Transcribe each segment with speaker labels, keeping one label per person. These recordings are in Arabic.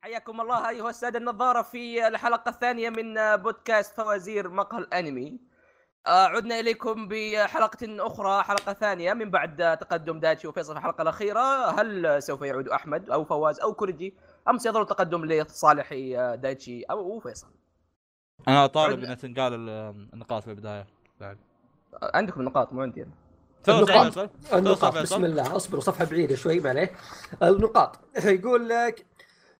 Speaker 1: حياكم الله ايها الساده النظاره في الحلقه الثانيه من بودكاست فوازير مقهى الانمي آه، عدنا اليكم بحلقه اخرى حلقه ثانيه من بعد تقدم داتشي وفيصل في الحلقه الاخيره هل سوف يعود احمد او فواز او كوريجي ام سيظل التقدم لصالح آه، داتشي او فيصل
Speaker 2: انا طالب
Speaker 1: عد-
Speaker 2: ان تنقال ال- النقاط في البدايه
Speaker 1: آه، عندكم نقاط مو عندي أنا.
Speaker 2: توصل
Speaker 3: النقاط.
Speaker 2: فيصل
Speaker 3: النقاط
Speaker 2: فيصل.
Speaker 3: بسم الله اصبروا صفحه بعيده شوي ما عليه النقاط يقول لك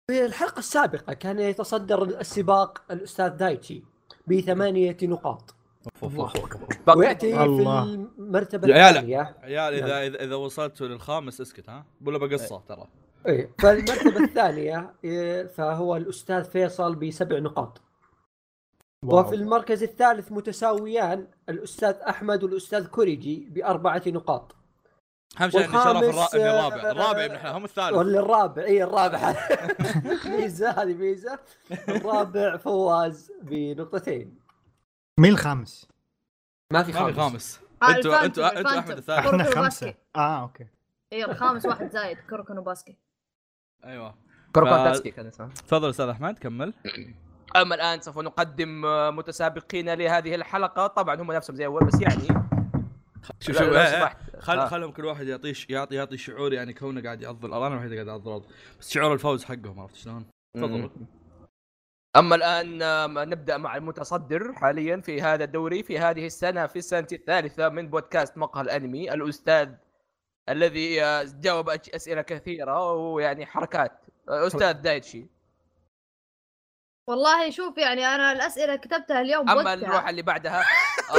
Speaker 3: في الحلقه السابقه كان يتصدر السباق الاستاذ دايتشي بثمانيه نقاط
Speaker 2: أوف، أوف، أوف.
Speaker 1: باقي-
Speaker 3: وياتي في
Speaker 4: الله.
Speaker 3: المرتبه
Speaker 2: يا عيال.
Speaker 3: الثانيه
Speaker 2: عيال اذا اذا إذا وصلتوا للخامس اسكت ها ولا بقصه ترى
Speaker 3: إيه، فالمرتبه الثانيه إيه، فهو الاستاذ فيصل بسبع نقاط وفي المركز الثالث متساويان الاستاذ احمد والاستاذ كوريجي باربعه نقاط
Speaker 2: اهم شيء اني شرف الرا-
Speaker 3: والخامس،
Speaker 2: اني الرابع
Speaker 3: آه،
Speaker 2: الرابع ابن احنا هم الثالث
Speaker 3: ولا الرابع اي الرابع ميزه هذه ميزه الرابع فواز بنقطتين
Speaker 4: مين الخامس؟
Speaker 3: ما في
Speaker 2: ما في
Speaker 3: خامس,
Speaker 2: خامس
Speaker 5: آه،
Speaker 2: انتوا
Speaker 5: الفانتوم،
Speaker 2: انتوا انتوا احمد
Speaker 5: الفانتوم.
Speaker 2: الثالث
Speaker 5: كوركن
Speaker 4: احنا خمسه
Speaker 5: وباسكت.
Speaker 4: اه اوكي
Speaker 5: اي الخامس واحد زايد كركن وباسكي
Speaker 2: ايوه
Speaker 1: كروكات
Speaker 2: ف-
Speaker 1: داتشي كان اسمه.
Speaker 2: تفضل استاذ احمد كمل
Speaker 1: اما الان سوف نقدم آه، متسابقين لهذه الحلقه طبعا هم نفسهم زي اول بس يعني
Speaker 2: شوف
Speaker 1: لا-
Speaker 2: شوف
Speaker 1: لو
Speaker 2: إيه، إيه.
Speaker 1: سمحت. آه.
Speaker 2: خل خلهم كل واحد يعطيه ش- يعطي يعطي شعور يعني كونه قاعد يعض الارض انا الوحيد قاعد اعض الارض بس شعور الفوز حقهم عرفت شلون؟ تفضلوا
Speaker 1: اما الان آم، نبدا مع المتصدر حاليا في هذا الدوري في هذه السنه في السنه الثالثه من بودكاست مقهى الانمي الاستاذ الذي آه، جاوب أج- اسئله كثيره ويعني حركات آه، استاذ دايتشي
Speaker 5: والله شوف يعني انا الاسئله كتبتها اليوم
Speaker 1: اما
Speaker 5: مودعة.
Speaker 1: الروح اللي بعدها آه،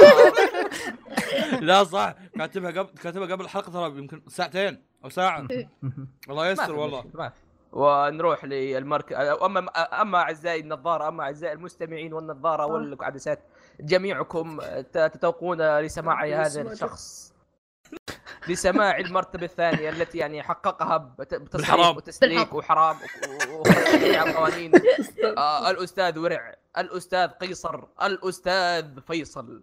Speaker 2: لا صح كاتبها قبل كاتبها قبل الحلقه ترى يمكن ساعتين او ساعه الله
Speaker 1: ما في
Speaker 2: يستر والله
Speaker 1: مشكلة، ما في. ونروح للمركز اما اما اعزائي النظاره اما اعزائي المستمعين والنظاره والعدسات جميعكم ت- تتوقون لسماع هذا الشخص لسماع المرتبه الثانيه التي يعني حققها بت- بتصريف
Speaker 2: بالحرام.
Speaker 1: وتسليك
Speaker 5: بالحرام.
Speaker 1: وحرام و- و- وخروج عن قوانين آه، الاستاذ ورع الاستاذ قيصر الاستاذ فيصل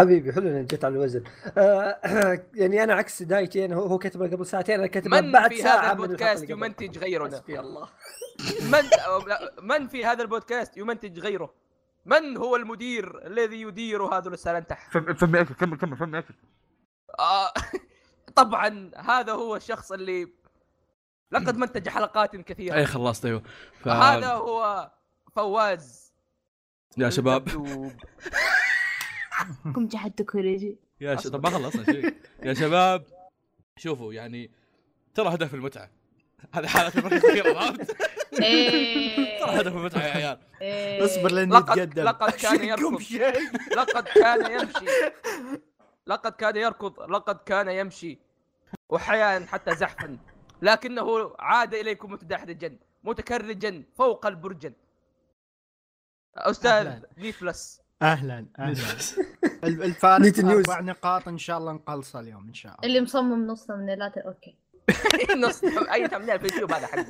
Speaker 3: حبيبي حلو انك جيت على الوزن آه يعني انا عكس دايتي انا هو- هو كتبه قبل ساعتين انا كتبه
Speaker 1: من
Speaker 3: بعد
Speaker 1: في هذا
Speaker 3: ساعه من الحلقة اللي
Speaker 1: البودكاست
Speaker 3: قبل.
Speaker 1: يمنتج غيرنا
Speaker 3: حسبي الله
Speaker 1: من من في هذا البودكاست يمنتج غيره؟ من هو المدير الذي يدير هذا السلنتح؟
Speaker 2: فمي اكل كمل كمل فمي اكل
Speaker 1: آه طبعا هذا هو الشخص اللي لقد منتج حلقات كثيرة
Speaker 2: اي خلصت ايوه ف...
Speaker 1: هذا هو فواز
Speaker 2: يا شباب
Speaker 1: الدبدوب.
Speaker 5: قم جحد كوريجي
Speaker 2: يا ش...
Speaker 1: أصبر.
Speaker 2: طب ما خلصنا شيء يا شباب شوفوا يعني ترى هدف المتعه هذه حالة المركز الأخير عرفت؟
Speaker 5: ايه
Speaker 2: ترى هدف المتعة يا عيال
Speaker 5: إيه.
Speaker 4: اصبر لين
Speaker 1: لقد
Speaker 4: يتقدم
Speaker 1: لقد كان يركض لقد كان يمشي لقد كان يركض لقد كان يمشي وحيانا حتى زحفا لكنه عاد اليكم متدحرجا متكرجا فوق البرجن استاذ
Speaker 4: أهلاً.
Speaker 1: نيفلس
Speaker 4: اهلا اهلا ال- الفارق
Speaker 3: نيت نيوز.
Speaker 4: اربع نقاط ان شاء الله نقلصه اليوم ان شاء الله
Speaker 5: اللي مصمم نصه من اللاتر اوكي
Speaker 1: نص اي تمثيل في اليوتيوب هذا حقه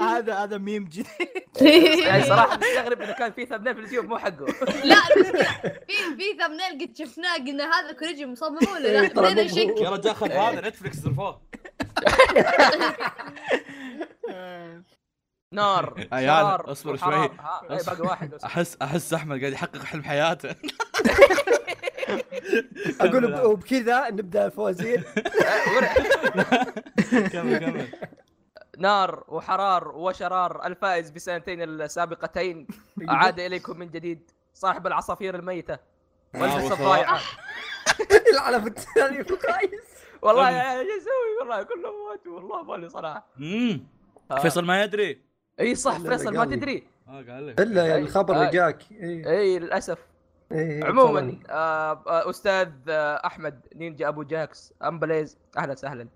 Speaker 4: آه، هذا هذا ميم جديد إيه،
Speaker 1: يعني صراحه مستغرب اذا كان في ثمثيل في اليوتيوب مو حقه
Speaker 5: لا المشكلة في في ثمنيل قد شفناه قلنا هذا كوريجي مصممه ولا لا
Speaker 3: إيه، ترى
Speaker 5: بدينا
Speaker 3: مو-
Speaker 5: نشك
Speaker 2: يا رجال خذ هذا نتفلكس رفاه
Speaker 1: نار
Speaker 2: يا عيال،
Speaker 1: شرار،
Speaker 2: اصبر
Speaker 1: وحرام.
Speaker 2: شوي.
Speaker 1: ها، إيه،
Speaker 2: اصبر.
Speaker 1: باقي واحد بس.
Speaker 2: احس احس احمد قاعد يحقق حلم حياته
Speaker 3: اقول وب- وبكذا نبدا الفوازير
Speaker 1: إيه، ورع.
Speaker 2: كمل كمل
Speaker 1: نار وحرار وشرار الفائز بسنتين السابقتين عاد اليكم من جديد صاحب العصافير الميته والفلسفه
Speaker 2: وشرار.
Speaker 1: الضايعه
Speaker 3: العلف الثاني كويس
Speaker 1: والله يا ايش اسوي والله كلهم ماتوا والله بالي صراحه
Speaker 2: أمم.
Speaker 1: آه.
Speaker 2: فيصل ما يدري
Speaker 1: اي صح
Speaker 3: إلا
Speaker 1: فيصل ما
Speaker 3: بقلبي.
Speaker 1: تدري
Speaker 2: اه قال لك
Speaker 3: الا يعني الخبر اللي
Speaker 1: آه.
Speaker 3: جاك إيه.
Speaker 1: اي للاسف
Speaker 3: إيه،
Speaker 1: عموما
Speaker 3: فلان.
Speaker 1: آه، آه، استاذ آه، احمد نينجا ابو جاكس امبليز اهلا وسهلا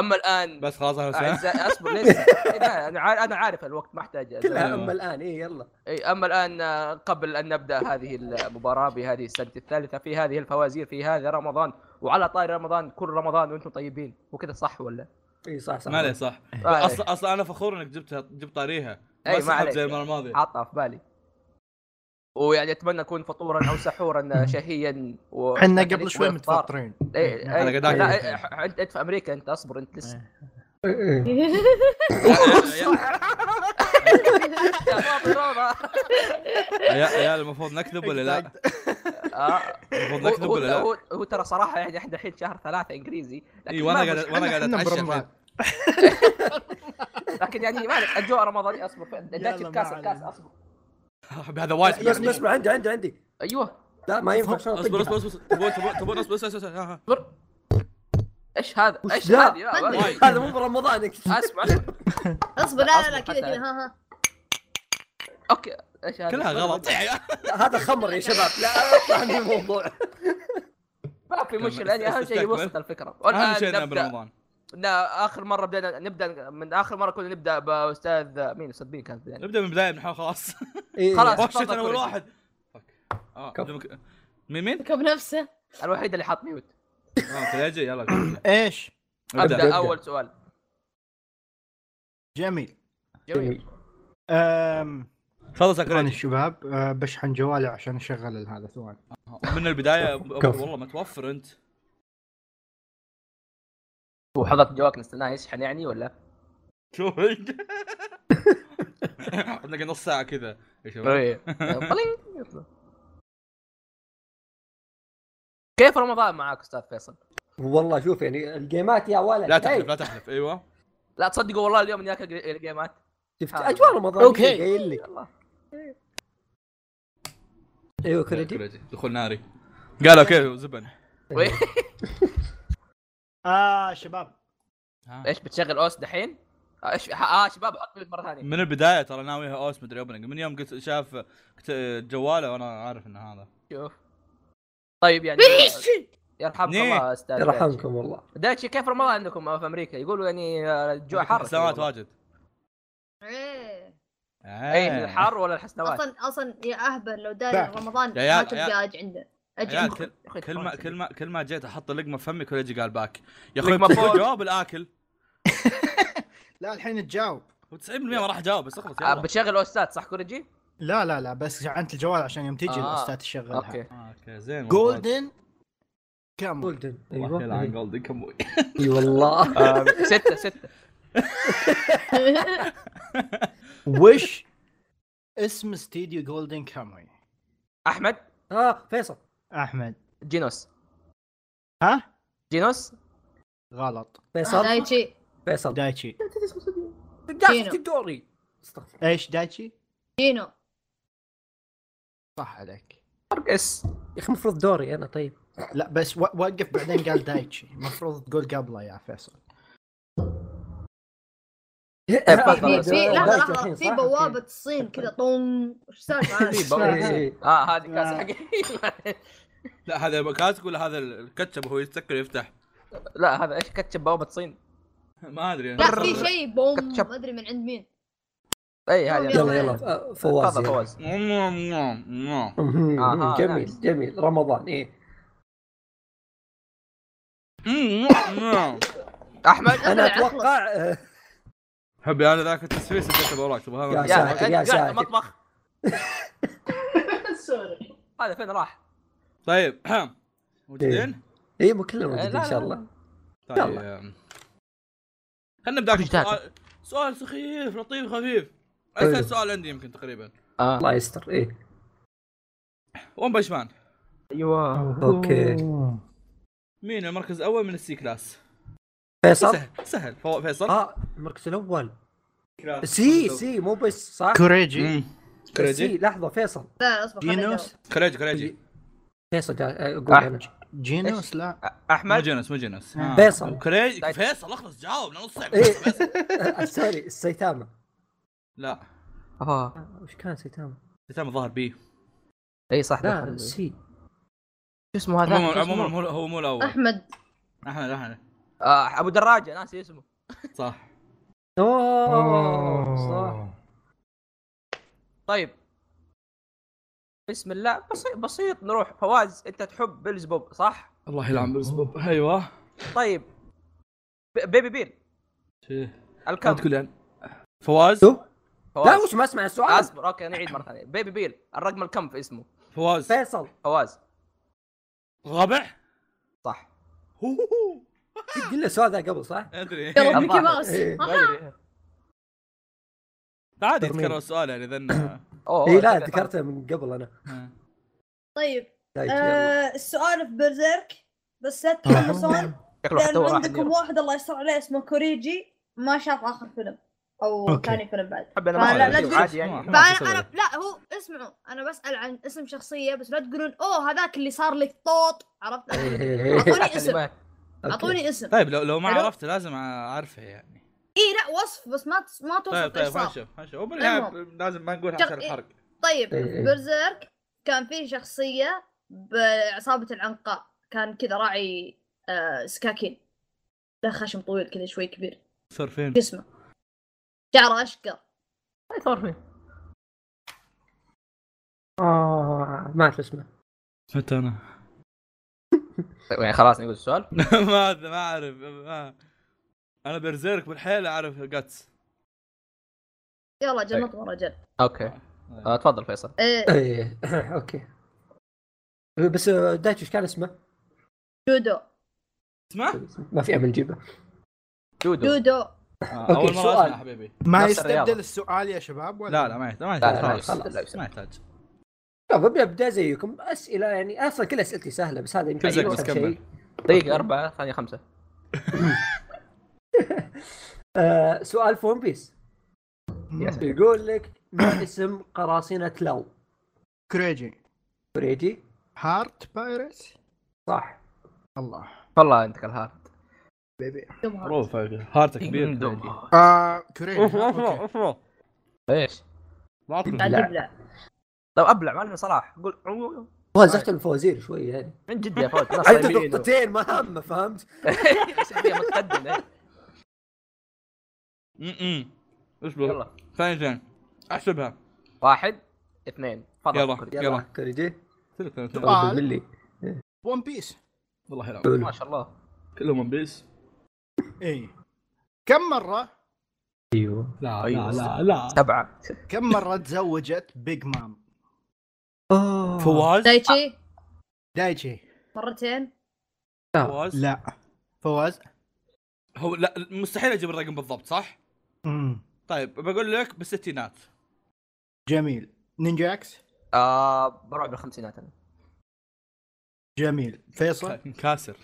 Speaker 1: اما الان
Speaker 2: بس خلاص اهلا وسهلا
Speaker 1: أعزائي- اصبر لسه إيه، لا، انا عار- انا عارف الوقت ما احتاج
Speaker 3: كلها
Speaker 2: أيوة.
Speaker 3: اما الان اي يلا
Speaker 1: إي، اما الان آه، قبل ان نبدا هذه المباراه بهذه السنه الثالثه في هذه الفوازير في هذا رمضان وعلى طاري رمضان كل رمضان وانتم طيبين وكذا صح ولا؟
Speaker 3: اي صح صح
Speaker 2: ما عليه صح
Speaker 1: ما عليك.
Speaker 2: اصلا اصلا انا فخور انك جبتها جبت طاريها
Speaker 1: أي، ما
Speaker 2: ما سحبت
Speaker 1: عليك.
Speaker 2: زي المره الماضيه
Speaker 1: حاطها في بالي ويعني اتمنى اكون فطورا او سحورا شهيا آه، و...
Speaker 4: احنا
Speaker 1: يعني
Speaker 4: قبل شوي
Speaker 1: والإفطار.
Speaker 4: متفطرين
Speaker 1: إي- إي-
Speaker 2: أنا قاعد
Speaker 1: لا إي-
Speaker 2: أعرف.
Speaker 1: إي- انت أنت في امريكا انت اصبر انت لسه
Speaker 3: إيه.
Speaker 2: إيه.
Speaker 1: يا فاضي روضة.
Speaker 2: يا عيال المفروض نكذب ولا لا؟
Speaker 1: آه.
Speaker 2: المفروض
Speaker 1: هو-
Speaker 2: نكذب
Speaker 1: هو-
Speaker 2: ولا لا؟
Speaker 1: هو هو ترى صراحه يعني احنا الحين شهر ثلاثه انجليزي لكن
Speaker 2: اي
Speaker 1: ما
Speaker 2: وانا
Speaker 1: مش-
Speaker 2: إيه، قاعد وانا قاعد
Speaker 4: إحنا
Speaker 2: اتعشى
Speaker 4: برمضان.
Speaker 2: الحين.
Speaker 1: لكن يعني ما عليك الجو رمضاني اصبر اديك
Speaker 4: يلا،
Speaker 1: الكاس
Speaker 4: ما
Speaker 1: الكاس
Speaker 4: علينا.
Speaker 1: اصبر
Speaker 2: هذا وايد
Speaker 3: لا، اسمع اسمع عندي عندي عندي
Speaker 1: ايوه
Speaker 3: لا ما ينفع شلون
Speaker 2: اصبر
Speaker 3: أطقها؟
Speaker 2: اصبر اصبر تبون تبون تبون اصبر اصبر اصبر آه، آه.
Speaker 1: اصبر ايش هذا؟
Speaker 3: وش
Speaker 1: ايش
Speaker 3: ذا؟
Speaker 1: هذه؟ لا،
Speaker 5: ما أدري.
Speaker 1: والله.
Speaker 3: هذا مو برمضانك
Speaker 1: اسمع اسمع
Speaker 5: اصبر لا لا
Speaker 1: أصبر
Speaker 5: لا
Speaker 1: حتى
Speaker 5: كذا كذا ها ها
Speaker 1: اوكي ايش هذا؟
Speaker 2: كلها غلط
Speaker 3: لا، هذا خمر يا شباب لا اطلع من الموضوع
Speaker 1: ما في مشكله يعني اهم شيء
Speaker 2: استكمل.
Speaker 1: وصلت الفكره
Speaker 2: اهم
Speaker 1: والآن
Speaker 2: شيء انه
Speaker 1: نبدا
Speaker 2: برمضان
Speaker 1: لا اخر مره بدينا نبدا من اخر مره كنا نبدا باستاذ مين استاذ مين كان بدينا
Speaker 2: نبدا من البدايه نحن خلاص
Speaker 3: إيه.
Speaker 1: خلاص.
Speaker 2: اوه شيت
Speaker 1: تفضل
Speaker 2: انا اول
Speaker 1: كوريجي.
Speaker 2: واحد فك. آه،
Speaker 3: كفو.
Speaker 2: نبدأ من- مين مين؟
Speaker 5: ركب نفسه
Speaker 1: الوحيد اللي حاط ميوت
Speaker 2: اه كريجي يلا كريجي.
Speaker 4: ايش؟
Speaker 1: ابدا
Speaker 3: أبدأ.
Speaker 1: اول سؤال
Speaker 4: جميل
Speaker 3: إيه.
Speaker 1: جميل
Speaker 4: أم...
Speaker 2: خلص يا
Speaker 4: ثواني
Speaker 2: كريجي
Speaker 4: الشباب أه، بشحن جوالي عشان اشغل هذا ثواني
Speaker 2: من البدايه أب- أب-
Speaker 3: كفو.
Speaker 2: والله متوفر انت
Speaker 1: وحضرت جواك نستناه يشحن يعني ولا؟
Speaker 2: شوف انت عندنا قبل نص ساعه كذا يا شباب
Speaker 1: إيه. بلينج، يطلع. كيف رمضان معاك استاذ فيصل؟
Speaker 3: والله شوف يعني الجيمات يا ولد
Speaker 2: لا
Speaker 3: إيه.
Speaker 2: تحلف لا تحلف ايوه
Speaker 1: لا تصدقوا والله اليوم إني اكل الجيمات
Speaker 3: شفت
Speaker 1: هذا.
Speaker 3: اجواء رمضان
Speaker 4: أوكي.
Speaker 3: قايل لي
Speaker 1: يلا
Speaker 3: ايوه كريدي
Speaker 2: كريجي دخول ناري قالوا كيف زبن
Speaker 3: إيه.
Speaker 4: اه شباب
Speaker 2: ها.
Speaker 1: ايش بتشغل اوس دحين؟ آه، ايش اه شباب حط ميوت مره ثانيه
Speaker 2: من البدايه ترى ناويها اوس مدري اوبننج من يوم قلت شاف كت- جواله وانا عارف ان هذا
Speaker 1: شوف طيب يعني يرحمكم
Speaker 2: نيه.
Speaker 1: الله استاذ
Speaker 3: يرحمكم والله
Speaker 1: دايتشي كيف رمضان عندكم في امريكا؟ يقولوا يعني آه، الجوع حر
Speaker 2: حسنوات واجد
Speaker 5: إيه.
Speaker 2: إيه.
Speaker 1: اي الحر ولا الحسنوات؟
Speaker 5: اصلا اصلا يا اهبل لو داري
Speaker 4: لا.
Speaker 5: رمضان
Speaker 2: يا عيال،
Speaker 5: ما تبقى
Speaker 2: يا
Speaker 5: اج عنده اج
Speaker 2: عيال،
Speaker 5: عندكم
Speaker 2: كل كل ما كل ما كل ما جيت احط لقمه في فمي كل يجي قال باك يا اخوي
Speaker 1: لقمة فوق.
Speaker 2: بتقول جواب الاكل
Speaker 4: لا الحين تجاوب
Speaker 2: و90% ما راح اجاوب بس اخبط
Speaker 1: آه،
Speaker 2: يلا
Speaker 1: بتشغل اوستات صح كوريجي؟
Speaker 4: لا لا لا بس شحنت الجوال عشان يوم تيجي
Speaker 1: آه.
Speaker 4: الاستاذ تشغلها
Speaker 1: اوكي
Speaker 2: آه، اوكي زين والله.
Speaker 4: جولدن كم
Speaker 3: جولدن
Speaker 2: الله يلعن
Speaker 3: ايوه
Speaker 2: جولدن كم
Speaker 3: اي والله
Speaker 1: آه. ستة ستة
Speaker 4: وش اسم استديو جولدن كامري
Speaker 1: احمد
Speaker 3: اه فيصل
Speaker 4: احمد
Speaker 1: جينوس
Speaker 4: ها
Speaker 1: جينوس
Speaker 4: غلط
Speaker 5: آه،
Speaker 3: فيصل
Speaker 5: دايتشي
Speaker 3: فيصل
Speaker 4: دايتشي
Speaker 3: جالس
Speaker 5: جينو.
Speaker 3: في دوري استغفر
Speaker 4: ايش دايتشي
Speaker 5: جينو
Speaker 4: صح عليك
Speaker 1: اس
Speaker 3: يا اخي المفروض دوري انا طيب
Speaker 4: لا بس و- وقف بعدين قال دايتشي المفروض تقول قبله يا فيصل
Speaker 5: في
Speaker 1: تفضل.
Speaker 5: في
Speaker 3: دايتشي
Speaker 5: لحظه لحظه
Speaker 3: الحين،
Speaker 5: في
Speaker 3: آه، صح؟
Speaker 5: بوابه الصين كذا طم ايش السالفه
Speaker 1: بوابة.
Speaker 3: إيه، إيه.
Speaker 1: اه هذه كاس حقي
Speaker 2: لا هذا كاسك ولا هذا الكاتشب وهو يتسكر يفتح
Speaker 1: لا هذا ايش كاتشب بوابة الصين
Speaker 2: ما ادري أنا.
Speaker 5: لا في شيء بوم
Speaker 1: كاتشب.
Speaker 5: ما ادري من عند مين
Speaker 1: اي هذه
Speaker 3: يلا يلا آه، فواز
Speaker 1: تفضل
Speaker 3: يلا.
Speaker 1: فواز
Speaker 2: نعم، نعم، نعم.
Speaker 3: مهم،
Speaker 1: آه،
Speaker 3: مهم،
Speaker 1: آه،
Speaker 3: جميل
Speaker 1: نايس.
Speaker 3: جميل رمضان ايه
Speaker 2: نعم، نعم.
Speaker 1: احمد
Speaker 5: أبلع،
Speaker 3: انا
Speaker 5: أخلص.
Speaker 3: اتوقع آه،
Speaker 2: حبي انا ذاك التسويس اللي كتب وراك تبغى
Speaker 3: يا
Speaker 2: هذا؟
Speaker 3: ساتر،
Speaker 1: يا
Speaker 3: يا
Speaker 1: أنت قاعد
Speaker 3: ساتر.
Speaker 1: المطبخ هذا فين راح؟
Speaker 2: طيب
Speaker 1: إيه.
Speaker 2: موجودين؟
Speaker 3: ايه مو كلنا
Speaker 1: لا،
Speaker 3: موجودين
Speaker 1: لا،
Speaker 3: ان شاء
Speaker 1: لا.
Speaker 3: الله
Speaker 2: طيب خلينا نبدا
Speaker 1: وش ذاك؟
Speaker 2: سؤال سؤال سخيف لطيف خفيف اسهل
Speaker 3: طيب.
Speaker 2: سؤال عندي يمكن تقريبا
Speaker 1: آه.
Speaker 3: الله يستر ايه
Speaker 2: ون بنش مان
Speaker 1: ايوه
Speaker 3: أوكي.
Speaker 2: مين المركز الاول من السي كلاس؟
Speaker 3: فيصل
Speaker 2: سهل سهل فو- فيصل
Speaker 3: اه المركز الاول
Speaker 2: كلاس.
Speaker 3: سي سي مو بس صح
Speaker 4: كوريجي
Speaker 2: مم.
Speaker 3: سي
Speaker 2: كريجي
Speaker 3: لحظه فيصل
Speaker 5: لا اصبر خليني
Speaker 4: جينوس
Speaker 2: كريجي كريجي
Speaker 3: فيصل قاعد- آه،
Speaker 1: آه.
Speaker 3: قول MG.
Speaker 4: جينوس لا
Speaker 2: مو
Speaker 1: احمد
Speaker 2: جنس مو جنس آه.
Speaker 3: فيصل. طيب.
Speaker 2: كريجي فيصل اخلص جاوب لنا نص ساعه
Speaker 3: إيه.
Speaker 2: فيصل.
Speaker 3: آه، سوري السيتامه
Speaker 2: لا
Speaker 1: اه
Speaker 3: آه، وش كان سيتامه؟
Speaker 2: تم ظهر بي
Speaker 1: اي صح
Speaker 3: لا
Speaker 1: دخل. شو
Speaker 3: سي
Speaker 1: اسمه هذا؟
Speaker 2: عموما
Speaker 1: شو اسمه؟
Speaker 2: عموما هو- هو مو
Speaker 5: أجاوب.
Speaker 2: الاول
Speaker 5: احمد
Speaker 2: احنا احنا
Speaker 1: آه، ابو دراجه ناسي اسمه
Speaker 2: صح
Speaker 3: اوه صح
Speaker 1: طيب بسم الله بسيط, بسيط نروح فواز انت تحب بيلز بوب صح؟
Speaker 2: الله يلعن بالزبوب ايوه
Speaker 1: طيب ب- بيبي بيل الكم
Speaker 2: تقول يعني فواز
Speaker 3: شو؟
Speaker 1: فواز.
Speaker 3: لا وش ما اسمع السؤال
Speaker 1: اصبر اوكي نعيد مره ثانيه بيبي بيل الرقم الكم في اسمه
Speaker 2: فواز
Speaker 3: فيصل
Speaker 1: فواز
Speaker 2: رابع
Speaker 1: صح
Speaker 3: قلنا السؤال ذا قبل صح؟
Speaker 2: ادري
Speaker 5: يلا ميكي
Speaker 1: أبغى.
Speaker 5: ماوس
Speaker 3: إيه.
Speaker 5: آه،
Speaker 1: أدري.
Speaker 2: عادي
Speaker 3: ترميم.
Speaker 2: يتكرر السؤال يعني ذن
Speaker 1: أوه، طيب.
Speaker 3: اي إيه، لا
Speaker 1: أوه،
Speaker 3: ذكرته من قبل انا
Speaker 5: طيب
Speaker 3: دايتشي، إيه، يلا.
Speaker 6: آه، السؤال في برزيرك بس لا تتحمسون
Speaker 1: شكله
Speaker 6: لانه
Speaker 1: حتدور واحد
Speaker 6: عندكم
Speaker 1: يروح.
Speaker 6: واحد الله يستر عليه اسمه كوريجي ما شاف اخر فيلم او
Speaker 4: أوكي.
Speaker 6: ثاني فيلم بعد
Speaker 1: حب انا
Speaker 5: ما
Speaker 1: ما
Speaker 5: لا- لا
Speaker 1: أدري،
Speaker 5: تقول-
Speaker 1: عادي يعني
Speaker 5: فانا انا لا هو اسمعوا انا بسال عن اسم شخصيه بس لا تقولون اوه هذاك اللي صار لك طوط عرفت
Speaker 3: إيه، إيه، إيه.
Speaker 1: أحسن
Speaker 5: اعطوني اسم
Speaker 1: يعني ما-
Speaker 3: أوكي.
Speaker 5: اعطوني اسم
Speaker 2: طيب لو لو ما
Speaker 5: حلو.
Speaker 2: عرفت لازم اعرفه يعني
Speaker 5: اي إيه، لا وصف بس ما تص- ما توصف
Speaker 2: طيب
Speaker 5: ايش
Speaker 2: طيب
Speaker 5: صار
Speaker 2: هنشوف هنشوف وبالنهايه
Speaker 5: المهم.
Speaker 2: لازم ما نقول
Speaker 5: شغ-
Speaker 2: عشان الحرق
Speaker 5: طيب
Speaker 3: إيه، إيه.
Speaker 5: برزيرك كان فيه شخصيه بعصابه العنقاء كان كذا راعي آه، سكاكين له خشم طويل كذا شوي كبير
Speaker 2: صار فين؟
Speaker 5: جسمه شعره اشقر
Speaker 1: ما يصير فيه.
Speaker 3: اه ما اعرف اسمه
Speaker 2: متى انا؟
Speaker 1: طيب، يعني خلاص نقول السؤال
Speaker 2: ما أد- ما اعرف ما انا برزيرك بالحيل اعرف جاتس طيب.
Speaker 5: يلا جنط ورا جد
Speaker 1: اوكي آه، تفضل فيصل
Speaker 5: إيه،
Speaker 3: ايه اوكي بس آه، دايتشي ايش كان اسمه؟
Speaker 5: جودو
Speaker 2: اسمع؟
Speaker 3: ما في امل نجيبه
Speaker 1: جودو
Speaker 5: جودو
Speaker 2: اول مره
Speaker 3: سؤال.
Speaker 2: اسمع حبيبي
Speaker 4: ما
Speaker 1: نفس
Speaker 4: يستبدل
Speaker 1: الرياضة.
Speaker 4: السؤال يا شباب ولا
Speaker 2: لا لا ما يحتاج ما
Speaker 3: لا،
Speaker 2: يحتاج
Speaker 3: لا،
Speaker 2: خلاص
Speaker 3: خلاص.
Speaker 2: لا، ما يحتاج
Speaker 3: طب ابدا ابدا زيكم اسئله يعني اصلا كل اسئلتي سهله بس هذا يمكن
Speaker 2: كل زيك
Speaker 3: أسهل
Speaker 2: بس كمل.
Speaker 3: شيء
Speaker 1: دقيقة أربعة ثانية خمسة
Speaker 3: آه سؤال في ون بيس
Speaker 1: يا سلام.
Speaker 3: يقول لك ما اسم قراصنه لو
Speaker 4: كريجي
Speaker 3: فريجي
Speaker 4: هارت بايرت
Speaker 3: صح
Speaker 4: الله
Speaker 1: والله أنت كالهارد
Speaker 4: بيبي
Speaker 5: جمهور
Speaker 2: معروف هارت كبير
Speaker 4: آه كريجي أوكي.
Speaker 2: افرو
Speaker 1: إيش
Speaker 2: ما
Speaker 5: قاعد يبلع
Speaker 1: طب أبلع معلم صلاح قول عو- عو-
Speaker 3: وزحت الفوازير شوي يعني
Speaker 1: من جد يا فوز ناس
Speaker 3: انت
Speaker 1: طيبين و-
Speaker 3: نقطتين ما هم فهمت
Speaker 1: سعودية متقدمة
Speaker 2: اصبر
Speaker 1: يلا
Speaker 2: ثانيتين احسبها
Speaker 1: واحد اثنين تفضل
Speaker 2: يلا.
Speaker 1: كوريجي.
Speaker 3: يلا كوريجي
Speaker 2: ثلاث ثانيتين.
Speaker 4: طبعاً.
Speaker 3: طب بالله
Speaker 4: ون بيس
Speaker 2: والله لا
Speaker 1: ما
Speaker 3: حلو
Speaker 1: شاء الله
Speaker 2: كلهم ون بيس
Speaker 4: اي إيه. كم مرة
Speaker 3: ايوه
Speaker 2: لا
Speaker 1: أيوة.
Speaker 2: لا
Speaker 1: سبعة
Speaker 4: كم مرة تزوجت بيج مام
Speaker 3: آه.
Speaker 2: فواز
Speaker 5: دايتشي
Speaker 4: دايتشي
Speaker 5: مرتين
Speaker 3: آه.
Speaker 2: فواز
Speaker 4: لا فواز
Speaker 2: هو لا مستحيل اجيب الرقم بالضبط صح؟
Speaker 4: مم.
Speaker 2: طيب بقول لك بالستينات
Speaker 4: جميل نينجاكس
Speaker 1: آه بروح بالخمسينات أنا
Speaker 4: جميل فيصل
Speaker 2: كاسر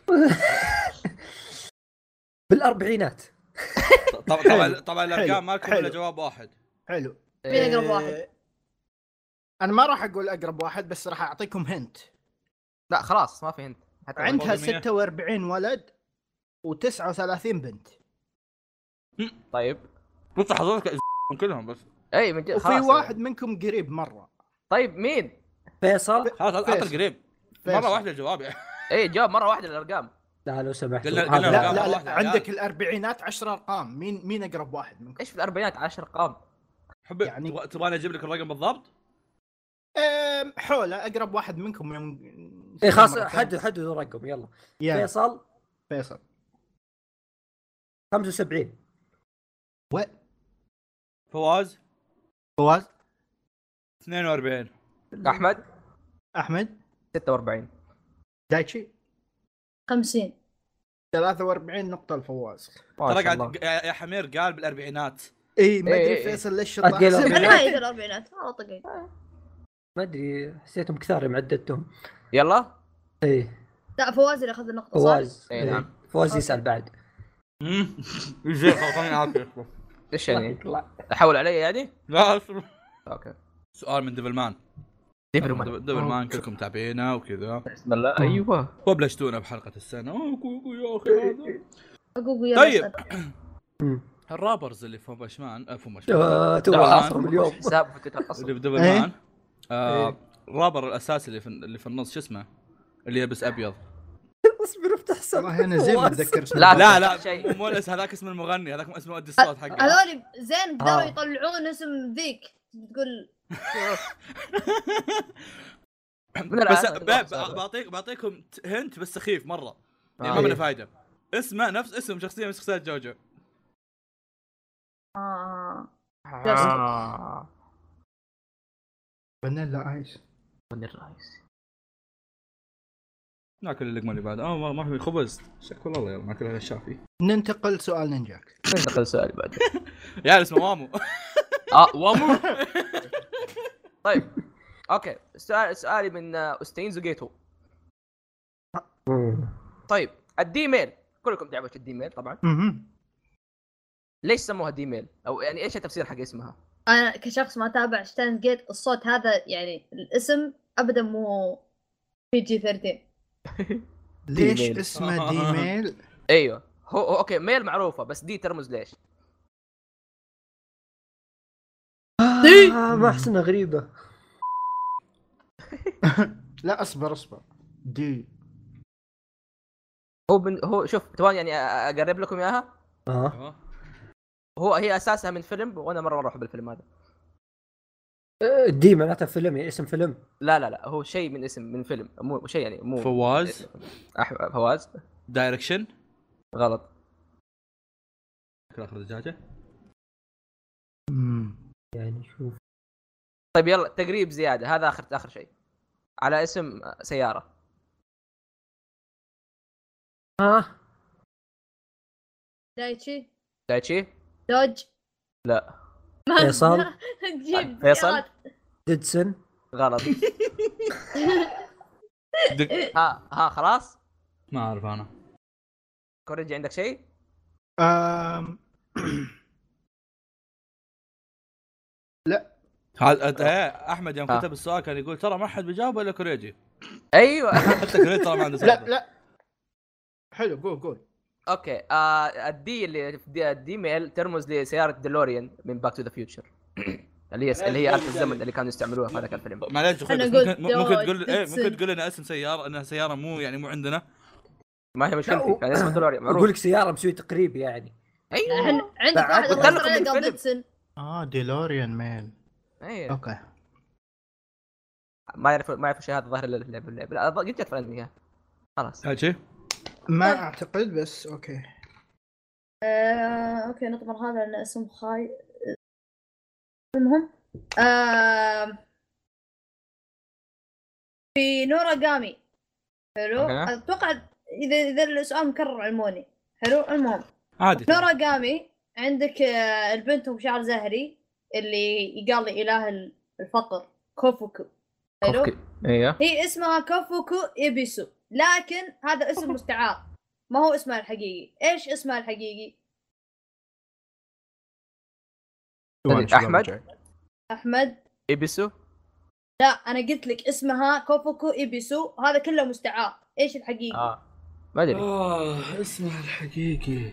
Speaker 3: بالاربعينات
Speaker 2: طبعا طبعا طبعا الارقام ما لكم الا
Speaker 4: حلو.
Speaker 2: جواب واحد
Speaker 4: حلو
Speaker 5: مين
Speaker 2: إيه.
Speaker 5: اقرب واحد؟
Speaker 4: آه، انا ما راح اقول اقرب واحد بس راح اعطيكم هنت
Speaker 1: لا خلاص ما في هنت حتى
Speaker 4: عندها
Speaker 2: مية.
Speaker 4: 46 ولد و39 بنت
Speaker 1: طيب
Speaker 2: بص حضرتك من كلهم بس
Speaker 1: اي من جد
Speaker 4: وفي
Speaker 1: خلاص
Speaker 4: واحد منكم قريب مره
Speaker 1: طيب مين؟
Speaker 3: فيصل
Speaker 2: خلاص عط
Speaker 4: فيصل.
Speaker 2: القريب
Speaker 4: فيصل.
Speaker 2: مره واحده الجواب يعني
Speaker 1: اي جاوب مره واحده الارقام
Speaker 3: لا لو سمحت
Speaker 2: قلنا-
Speaker 3: هذا-
Speaker 2: قلنا
Speaker 4: لا
Speaker 2: لا،
Speaker 4: لا
Speaker 2: واحد.
Speaker 4: لا عندك الاربعينات 10 ارقام مين مين اقرب واحد منكم؟
Speaker 1: ايش في الاربعينات 10 ارقام
Speaker 2: حبي
Speaker 4: يعني-
Speaker 2: يعني تبغاني اجيب لك الرقم بالضبط؟
Speaker 4: أم، حوله اقرب واحد منكم يوم
Speaker 3: اي إيه، خلاص حدد حدد الرقم يلا
Speaker 4: يا
Speaker 3: فيصل
Speaker 4: فيصل
Speaker 3: 75
Speaker 2: فواز
Speaker 4: فواز
Speaker 2: 42
Speaker 1: احمد
Speaker 4: احمد
Speaker 1: 46
Speaker 4: دايتشي
Speaker 5: 50
Speaker 4: 43 نقطة الفواز
Speaker 1: ما
Speaker 2: ترى
Speaker 1: شاء الله
Speaker 2: قاعد يا يا حمير قال بالاربعينات
Speaker 4: اي ما
Speaker 1: إيه،
Speaker 4: ادري
Speaker 1: إيه، إيه.
Speaker 4: فيصل ليش
Speaker 3: أتقل
Speaker 4: طاح.
Speaker 3: الأربعينات.
Speaker 5: انا يقول الاربعينات والله طقي
Speaker 3: ما ادري حسيتهم كثار يوم عددتهم
Speaker 1: يلا
Speaker 3: ايه
Speaker 5: لا فواز اللي اخذ النقطه صح؟
Speaker 3: فواز
Speaker 1: إيه، نعم.
Speaker 3: إيه، فواز يسال بعد
Speaker 2: امم زين خلطني عافيه
Speaker 1: ايش يعني؟
Speaker 3: يطلع.
Speaker 1: احول علي يعني؟
Speaker 2: لا أصبر.
Speaker 1: اوكي
Speaker 2: سؤال من ديفل مان
Speaker 1: ديبرمان
Speaker 2: ديفل مان كلكم تابعينه وكذا
Speaker 1: بسم الله ايوه
Speaker 2: وبلشتونا بحلقه السنه أوه، كوكو يا اخي هذا.
Speaker 5: اقوقو يلا
Speaker 2: طيب
Speaker 5: اسأل.
Speaker 3: مم.
Speaker 2: الرابرز اللي في بشمان آه، في بشمان
Speaker 3: آه، تو
Speaker 1: لا،
Speaker 3: عصرهم اليوم
Speaker 1: حساب في تويتر
Speaker 2: اللي في
Speaker 1: اصلا
Speaker 2: ديفل
Speaker 4: إيه.
Speaker 2: مان آه، الرابر الاساسي اللي في اللي في النص شو اسمه؟ اللي يلبس ابيض
Speaker 3: اصبر افتح حساب
Speaker 4: والله انا زين
Speaker 3: فواز.
Speaker 4: متذكر اسمه.
Speaker 1: لا.
Speaker 2: لا لا
Speaker 1: شيء.
Speaker 2: مو- مو الاسم هذاك اسم المغني هذاك اسم مؤدي الصوت حقه
Speaker 5: هذول زين قدروا
Speaker 3: آه.
Speaker 5: يطلعون اسم ذيك تقول
Speaker 1: من
Speaker 2: بس
Speaker 1: الآن
Speaker 2: باب- بعطيك بعطيكم ت- هنت بس سخيف مره يعني ما
Speaker 1: إيه.
Speaker 2: منه فايده اسمه نفس اسم شخصيه من شخصيات جوجو
Speaker 5: اه
Speaker 1: آه.
Speaker 4: فانيلا ايس
Speaker 1: من الرئيس
Speaker 2: ناكل اللقمه اللي بعد اه ما ما في خبز شكو الله يلا ناكل هذا الشافي
Speaker 4: ننتقل سؤال نينجاك
Speaker 1: ننتقل سؤال بعد
Speaker 2: يا اسمه مامو
Speaker 1: اه وامو طيب اوكي سؤال سؤالي من آه، استينزو جيتو طيب الديميل كلكم تعرفوا ايش الديميل طبعا
Speaker 4: مهم.
Speaker 1: ليش سموها ديميل او يعني ايش التفسير حق اسمها
Speaker 5: انا كشخص ما تابع شتاينز جيت الصوت هذا يعني الاسم ابدا مو بي جي 13
Speaker 4: ليش
Speaker 1: ديميل.
Speaker 4: اسمه ديميل؟
Speaker 1: ايوه هو هو- اوكي ميل معروفه بس دي ترمز ليش
Speaker 3: آه ما احس انها غريبه
Speaker 4: لا اصبر اصبر دي
Speaker 1: هو من هو شوف تبغى يعني أ- أ- اقرب لكم اياها
Speaker 3: اه
Speaker 2: آه.
Speaker 1: هو هي اساسها من فيلم وانا مره مره احب الفيلم هذا
Speaker 3: آه، دي معناتها فيلم يعني اسم فيلم
Speaker 1: لا لا لا هو شيء من اسم من فيلم مو شيء يعني مو
Speaker 2: فواز
Speaker 1: أح- فواز
Speaker 2: دايركشن
Speaker 1: غلط
Speaker 2: كل اخر دجاجه
Speaker 4: مم.
Speaker 3: يعني شوف
Speaker 1: طيب يلا تقريب زياده هذا اخر اخر شيء على اسم سياره
Speaker 3: اه
Speaker 5: دايتشي
Speaker 1: دايتشي
Speaker 5: دوج
Speaker 1: لا.
Speaker 5: ما-
Speaker 3: فيصل؟
Speaker 5: تجيب
Speaker 1: طيب، فيصل؟
Speaker 5: سيارات.
Speaker 3: ديدسن
Speaker 1: غلط
Speaker 2: دق
Speaker 1: ها ها خلاص
Speaker 2: ما اعرف انا
Speaker 1: كوريجي عندك شيء
Speaker 4: آم.
Speaker 2: هذا أنت- إيه، احمد يوم كتب السؤال كان يقول ترى ما حد بيجاوب الا كوريجي
Speaker 1: ايوه
Speaker 2: حتى كوريجي ترى ما عنده
Speaker 4: لا
Speaker 2: سالفة.
Speaker 4: لا حلو قول قول
Speaker 1: اوكي آه الدي اللي في دي- الدي ميل ترمز لسياره ديلوريان من باك تو ذا فيوتشر اللي هي اللي هي آلة الزمن اللي كانوا يستعملوها في هذاك الفيلم
Speaker 2: معليش أخوي،
Speaker 5: أنا
Speaker 2: بس
Speaker 5: قلت
Speaker 2: ممكن ممكن
Speaker 5: دوج،
Speaker 2: تقول إيه، ممكن
Speaker 5: ديدسن.
Speaker 2: تقول لنا اسم سياره انها سياره مو يعني مو عندنا
Speaker 1: ما هي مشكلتي كان اسمه ديلوريان
Speaker 3: اقول
Speaker 1: معروف
Speaker 3: لك سياره مسوي تقريب يعني
Speaker 1: ايوه
Speaker 5: الحين عندك واحد
Speaker 1: قلت
Speaker 5: رسل
Speaker 1: لكم
Speaker 5: عليه
Speaker 1: بالفيلم.
Speaker 5: قال ديدسن
Speaker 4: اه ديلوريان ميل
Speaker 1: أيوه.
Speaker 4: اوكي
Speaker 1: ما يعرف ما يعرف شيء هذا ظاهر اللعب اللعب لا أظن- قلت لك في الانمي ها. خلاص
Speaker 2: شيء
Speaker 4: ما اعتقد بس اوكي
Speaker 5: آه، اوكي نطمر هذا لان اسم خاي المهم آه، في نورا جامي حلو
Speaker 1: أها.
Speaker 5: اتوقع اذا اذا السؤال مكرر علموني حلو المهم
Speaker 2: عادي
Speaker 5: نورا جامي عندك آه، البنت ام شعر زهري اللي يقال لي اله الفقر كوفوكو حلو
Speaker 1: أوكي. ايوه
Speaker 5: هي اسمها كوفوكو ايبيسو لكن هذا اسم مستعار ما هو اسمها الحقيقي ايش اسمها الحقيقي
Speaker 1: ثاني، أحمد؟
Speaker 5: احمد
Speaker 1: ايبسو
Speaker 5: لا انا قلت لك اسمها كوفوكو ايبيسو هذا كله مستعار ايش الحقيقي
Speaker 1: اه ما ادري
Speaker 2: اه اسمها الحقيقي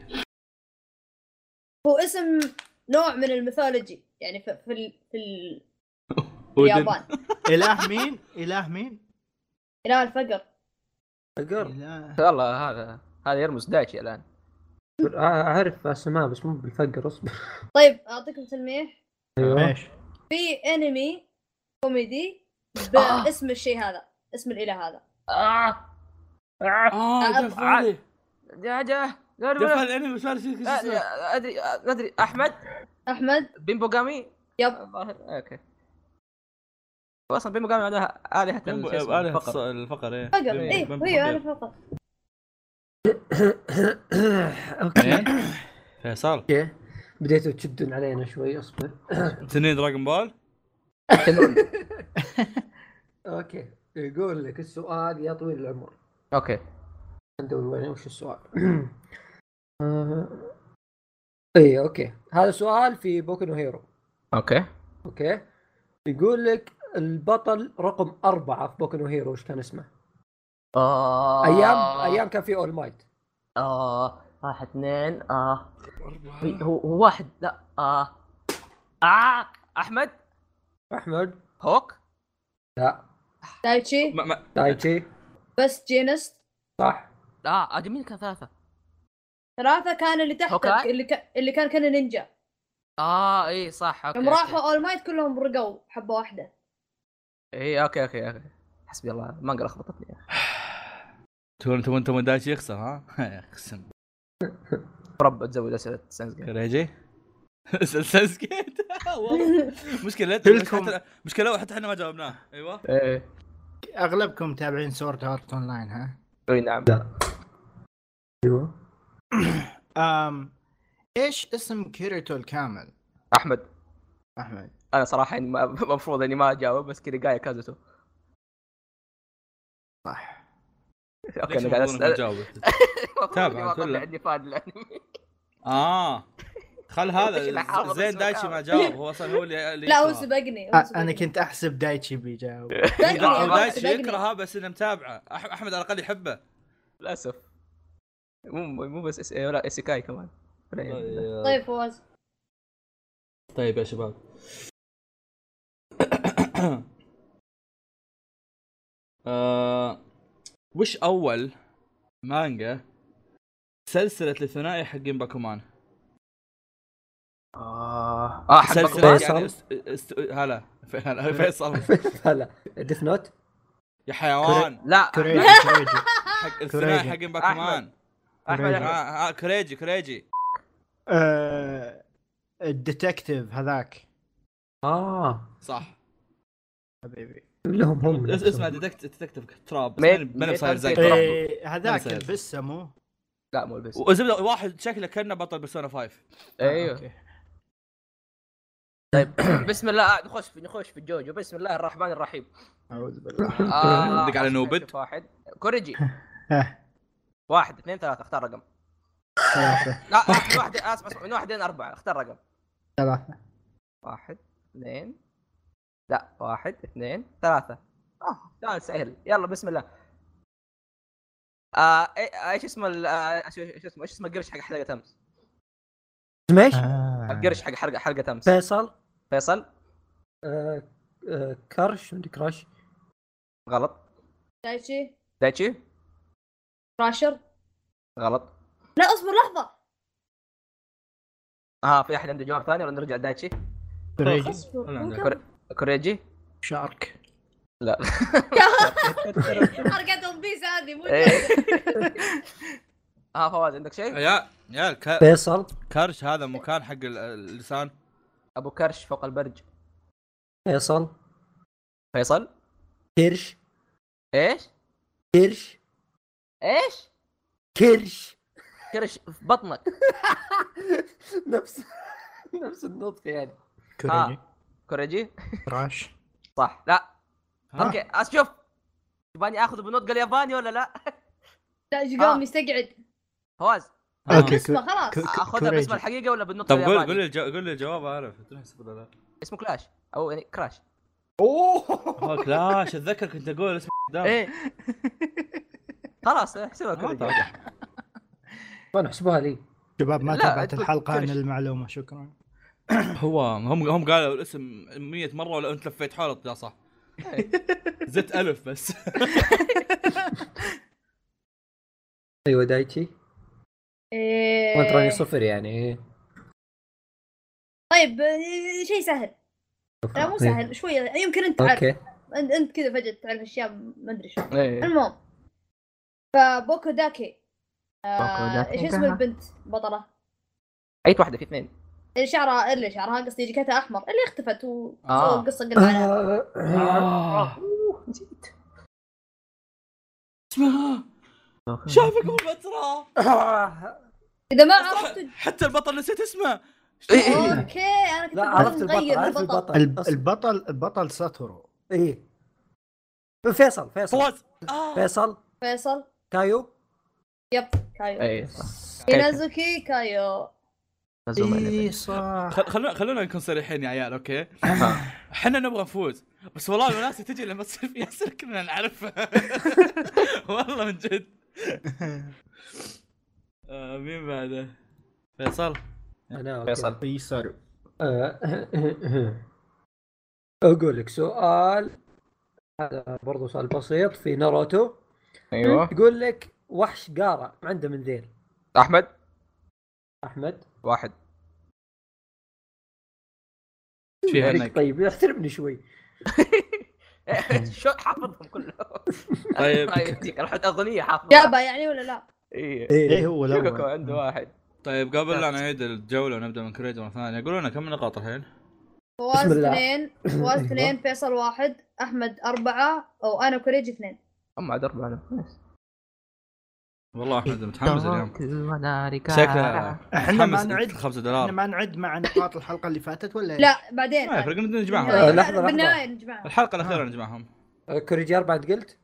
Speaker 5: هو اسم نوع من الميثولوجي يعني في في, ال- في ال- في
Speaker 2: ودن.
Speaker 5: اليابان
Speaker 4: اله مين؟ اله مين؟
Speaker 5: اله الفقر
Speaker 3: اقر
Speaker 4: إله-
Speaker 1: والله هذا هذا يرمز دايتشي الان
Speaker 3: اعرف اسماء آه، بس مو بالفقر اصبر
Speaker 5: طيب اعطيكم تلميح
Speaker 3: ايوه
Speaker 4: ايش؟
Speaker 5: في انمي كوميدي
Speaker 1: آه.
Speaker 5: باسم الشيء هذا اسم الاله هذا
Speaker 1: اه اه
Speaker 2: اه جف
Speaker 1: عاد.
Speaker 2: هذه.
Speaker 1: جا جا
Speaker 2: جف الانمي صار شيء
Speaker 1: آه، آه، ادري آه، ادري احمد
Speaker 5: احمد
Speaker 1: بيمبوغامي
Speaker 5: يب
Speaker 1: الظاهر اوكي هو اصلا بيمبوغامي معناها الهه ال- شو اسمه،
Speaker 2: آلهة
Speaker 1: الفقر.
Speaker 2: الص- الفقر ايه
Speaker 5: فقر ايه
Speaker 2: بيم-
Speaker 5: هي انا
Speaker 2: بيم-
Speaker 5: فقر
Speaker 3: اوكي
Speaker 2: فيصل
Speaker 3: اوكي بديتوا تشدون علينا شوي اصبر
Speaker 2: تنين دراجون بول
Speaker 3: اوكي يقول لك السؤال يا طويل العمر
Speaker 1: اوكي
Speaker 3: ندور وين وش السؤال آه، اي اوكي إيه، هذا سؤال في بوكو نو هيرو
Speaker 1: اوكي
Speaker 3: اوكي يقول لك البطل رقم أربعة في بوكو نو هيرو وش كان اسمه؟
Speaker 1: اه
Speaker 3: أيام أيام كان في أول مايت
Speaker 1: اه واحد اثنين اه هي- هو هو واحد لا اه اه احمد
Speaker 3: أحمد
Speaker 1: هوك
Speaker 3: لا
Speaker 5: دايتشي
Speaker 2: ما- ما-
Speaker 3: دايتشي
Speaker 5: بس جينست
Speaker 3: صح
Speaker 1: اه عاد مين كان ثلاثة؟
Speaker 5: ثلاثة كان اللي تحت
Speaker 1: أوكي.
Speaker 5: اللي ك... اللي كان كان نينجا
Speaker 1: اه اي صح اوكي
Speaker 5: يوم
Speaker 1: أوكي.
Speaker 5: راحوا اول مايت كلهم رقوا حبة واحدة
Speaker 1: اي اوكي اوكي اوكي حسبي الله ما قال خبطتني
Speaker 2: تقول انت انت دايتشي يخسر ها؟ اقسم
Speaker 1: رب تزود اسئله ساينس جيم.
Speaker 2: كريجي سلسلس جيت والله. مشكلة أنت- مش-
Speaker 4: كلكم.
Speaker 2: حتى- مشكلة حتى احنا ما جاوبناه ايوه
Speaker 1: ايه
Speaker 4: اغلبكم متابعين سورد ارت اون لاين ها؟
Speaker 1: اي نعم
Speaker 3: ايوه
Speaker 4: أم ايش اسم كيريتو الكامل
Speaker 1: احمد
Speaker 4: احمد
Speaker 1: انا صراحه يعني ما- المفروض اني ما اجاوب بس كذا قايل كازوتو
Speaker 4: صح
Speaker 1: اوكي
Speaker 2: ليش
Speaker 1: انا قاعد
Speaker 2: المفروض إنك
Speaker 1: اسال
Speaker 2: تجاوب؟
Speaker 1: المفروض
Speaker 2: تابع
Speaker 1: إني ما
Speaker 2: كله.
Speaker 1: طلع عندي فان الانمي
Speaker 2: اه خل
Speaker 1: ليش اللي
Speaker 2: هذا
Speaker 1: حافظ
Speaker 2: زين
Speaker 1: اسمه
Speaker 2: دايتشي ما
Speaker 1: كامل؟
Speaker 2: جاوب هو اصلا هو اللي اللي
Speaker 6: لا هو
Speaker 2: يكرهه.
Speaker 6: سبقني هو
Speaker 4: أ- انا
Speaker 6: سبقني.
Speaker 4: آه، كنت احسب دايتشي بيجاوب
Speaker 6: سبقني،
Speaker 1: لا،
Speaker 2: لا
Speaker 1: هو
Speaker 2: هو دايتشي
Speaker 6: سبقني.
Speaker 2: يكرهها بس انه متابعه أح- احمد على الاقل يحبه
Speaker 1: للاسف مو مو بس إس... لا اسيكاي كمان ولا
Speaker 2: آه،
Speaker 1: إيه.
Speaker 6: طيب فوز
Speaker 2: طيب يا شباب آه، وش اول مانجا سلسلة الثنائي حقين باكومان
Speaker 4: اه
Speaker 1: اه حق
Speaker 2: سلسلة
Speaker 1: باكومان؟
Speaker 2: يعني است... است... هلا ف- هلا فيصل
Speaker 3: هلا ديث نوت
Speaker 2: يا حيوان
Speaker 1: لا
Speaker 4: كوريجي كوريجي
Speaker 2: حق الثنائي
Speaker 4: كوريجي.
Speaker 2: حقين باكومان
Speaker 1: احمد
Speaker 2: آه،
Speaker 1: أحمد.
Speaker 2: آه، كريجي كريجي
Speaker 4: آه، الديتكتيف هذاك
Speaker 3: اه
Speaker 2: صح
Speaker 4: حبيبي
Speaker 3: لهم هم
Speaker 2: اس-
Speaker 3: نفسهم.
Speaker 2: اسمه ديتكت ديتكتيف تراب
Speaker 1: ميت-
Speaker 2: بنب
Speaker 1: ميت
Speaker 2: صاير زي
Speaker 1: أركيد.
Speaker 2: تراب
Speaker 4: إيه، هذاك
Speaker 2: نسيت.
Speaker 4: البسه مو
Speaker 1: لا مو بس
Speaker 2: والزبده واحد شكله كانه بطل بيرسونا 5
Speaker 1: ايوه
Speaker 4: أوكي.
Speaker 1: طيب بسم الله آه، نخش في نخش في الجوجو بسم الله الرحمن الرحيم
Speaker 4: اعوذ بالله
Speaker 1: آه،
Speaker 2: ندق على
Speaker 1: أشوف
Speaker 2: نوبت.
Speaker 1: واحد كوريجي
Speaker 4: ها،
Speaker 1: واحد اثنين ثلاثة اختار رقم
Speaker 4: ثلاثة
Speaker 1: لا آه، من واحد اسف اسف من واحد لين اربعة اختار رقم
Speaker 4: ثلاثة
Speaker 1: واحد اثنين لا واحد اثنين ثلاثة آه سؤال سهل يلا بسم الله آه إي- ايش اسم ال- آه، شو- شو اسمه ايش اسم القرش حق حلقة امس؟
Speaker 3: اسمه ايش؟
Speaker 4: آه.
Speaker 1: القرش حق حلقة حلقة امس
Speaker 3: فيصل
Speaker 1: فيصل
Speaker 3: آه، آه، كرش عندي كراش
Speaker 1: غلط
Speaker 6: دايتشي
Speaker 1: دايتشي
Speaker 6: راشر
Speaker 1: غلط
Speaker 6: لا اصبر لحظه
Speaker 1: اه في احد عنده جواب ثاني ولا نرجع دايتشي
Speaker 4: كوريجي
Speaker 2: إيه. أنا عندي.
Speaker 6: اصبر
Speaker 1: كوريجي
Speaker 4: شارك
Speaker 6: حركات ون بيس هذه مو
Speaker 1: إيه. اه فواز عندك شيء؟
Speaker 2: يا يا الك-
Speaker 3: فيصل
Speaker 2: كرش هذا مكان حق ال- اللسان
Speaker 1: ابو كرش فوق البرج
Speaker 3: فيصل
Speaker 1: فيصل
Speaker 3: كرش
Speaker 1: ايش؟
Speaker 3: كرش
Speaker 1: ايش؟
Speaker 3: كرش
Speaker 1: كرش في بطنك
Speaker 3: نفس نفس النطق
Speaker 2: إيه.
Speaker 3: يعني
Speaker 4: كوريجي
Speaker 1: كوريجي
Speaker 4: راش
Speaker 1: صح لا
Speaker 2: ها؟
Speaker 1: اوكي اشوف تباني اخذه بالنطق الياباني ولا لا؟
Speaker 6: دايتشي قام يستقعد
Speaker 1: فواز
Speaker 2: آه.
Speaker 4: أوكي.
Speaker 6: اسمه خلاص
Speaker 4: آه. كو-
Speaker 1: اخذها باسم
Speaker 4: كوريجي.
Speaker 1: الحقيقه ولا بالنطق
Speaker 2: طب قول
Speaker 1: الياباني؟
Speaker 2: قول الجو... قول لي الجواب اعرف تنحسب ولا لا
Speaker 1: اسمه كلاش او يعني كراش
Speaker 3: اوه
Speaker 2: هو كلاش اتذكر كنت اقول اسمه قدام
Speaker 1: ايه خلاص احسبها
Speaker 2: آه،
Speaker 1: كوريجي
Speaker 2: إيه. طبعاً.
Speaker 3: ما نحسبها لي
Speaker 4: شباب ما
Speaker 1: لا،
Speaker 4: تابعت
Speaker 1: تقول
Speaker 4: الحلقة عن
Speaker 1: كوريجي.
Speaker 4: المعلومة شكرا
Speaker 2: هو هم هم قالوا الاسم 100 مره ولا انت لفيت حولك يا صح
Speaker 1: إيه.
Speaker 2: زدت الف بس
Speaker 3: ايوه دايتشي
Speaker 6: إيه.
Speaker 3: ما تراني صفر يعني
Speaker 6: طيب إيه، شيء سهل لا آه، مو
Speaker 3: طيب.
Speaker 6: سهل شويه يمكن انت تعرف
Speaker 3: اوكي
Speaker 6: انت, انت كذا فجاه تعرف اشياء ما ادري
Speaker 3: إيه.
Speaker 6: شو
Speaker 2: إيه.
Speaker 1: ايه
Speaker 6: المهم فبوكو داكي آه،
Speaker 4: باكوداكي
Speaker 6: ايش اسم
Speaker 4: انتهى.
Speaker 6: البنت بطله
Speaker 1: اي واحده في اثنين
Speaker 6: اللي شعرها اللي شعرها قصدي جكتها احمر اللي اختفت و
Speaker 1: آه.
Speaker 6: سووا قصه قلنا عليها
Speaker 2: آه.
Speaker 1: نسيت
Speaker 2: اسمها شايفك قبل ما تراه
Speaker 6: اذا ما عرفت
Speaker 2: حتى البطل نسيت اسمه
Speaker 1: إيه،
Speaker 6: اوكي انا كنت
Speaker 3: لا
Speaker 6: بقول
Speaker 3: عرفت البطل
Speaker 6: نغير
Speaker 3: عرفت
Speaker 4: الب-
Speaker 3: البطل
Speaker 4: البطل البطل ساتورو
Speaker 3: ايه فيصل فيصل
Speaker 2: فواز آه.
Speaker 3: فيصل
Speaker 6: فيصل
Speaker 3: كايو
Speaker 6: يب
Speaker 3: إيه،
Speaker 6: كايو إيه.
Speaker 1: اي صح
Speaker 6: ينازوكي كايو
Speaker 3: آه.
Speaker 1: نزوم عليه.
Speaker 4: إيه، صح
Speaker 2: خل- خلونا خلونا نكون صريحين يا عيال اوكي
Speaker 1: ها.
Speaker 2: احنا نبغى نفوز بس والله الوناسه تجي لما تصير في اسئله كلنا نعرفها والله من جد آه مين بعده؟ فيصل
Speaker 3: انا أوكي. أه،
Speaker 1: فيصل
Speaker 4: يسار
Speaker 3: آه، اقول لك سؤال هذا برضو سؤال بسيط في ناروتو
Speaker 1: ايوه
Speaker 3: يقول لك وحش قارة عنده منذير
Speaker 1: احمد
Speaker 3: احمد
Speaker 1: واحد
Speaker 2: ايش في
Speaker 3: عليك
Speaker 2: عندك؟
Speaker 3: طيب احترمني شوي
Speaker 1: شو حافظهم كلهم
Speaker 2: طيب
Speaker 1: الله يهديك الحين اغنيه حافظها
Speaker 6: جابها يعني ولا لا؟
Speaker 1: اي
Speaker 4: ايه هو
Speaker 1: شوكوكو
Speaker 4: الاول
Speaker 1: عنده واحد
Speaker 2: طيب قبل لا نعيد الجوله ونبدا من كريد مره ثانيه قولوا لنا كم نقاط الحين؟
Speaker 6: فواز
Speaker 3: بسم الله.
Speaker 6: اثنين فواز
Speaker 3: أيوة.
Speaker 6: اثنين فيصل واحد احمد اربعه وانا كوريجي اثنين
Speaker 1: اما عاد اربعه أنا.
Speaker 2: والله احمد متحمس اليوم شكله
Speaker 1: شكله
Speaker 4: احنا ما
Speaker 2: متحمس
Speaker 4: نعد
Speaker 2: 5
Speaker 4: احنا
Speaker 2: دولار
Speaker 4: ما نعد مع نقاط الحلقه اللي فاتت ولا إيه؟ إيش؟
Speaker 6: لا بعدين
Speaker 2: ما يفرق
Speaker 3: آه،
Speaker 2: نجمعهم
Speaker 3: لحظة، لحظة.
Speaker 6: بالنهايه نجمعها
Speaker 2: الحلقه الاخيره نجمعهم
Speaker 3: آه، كوريجي اربعه أنت قلت؟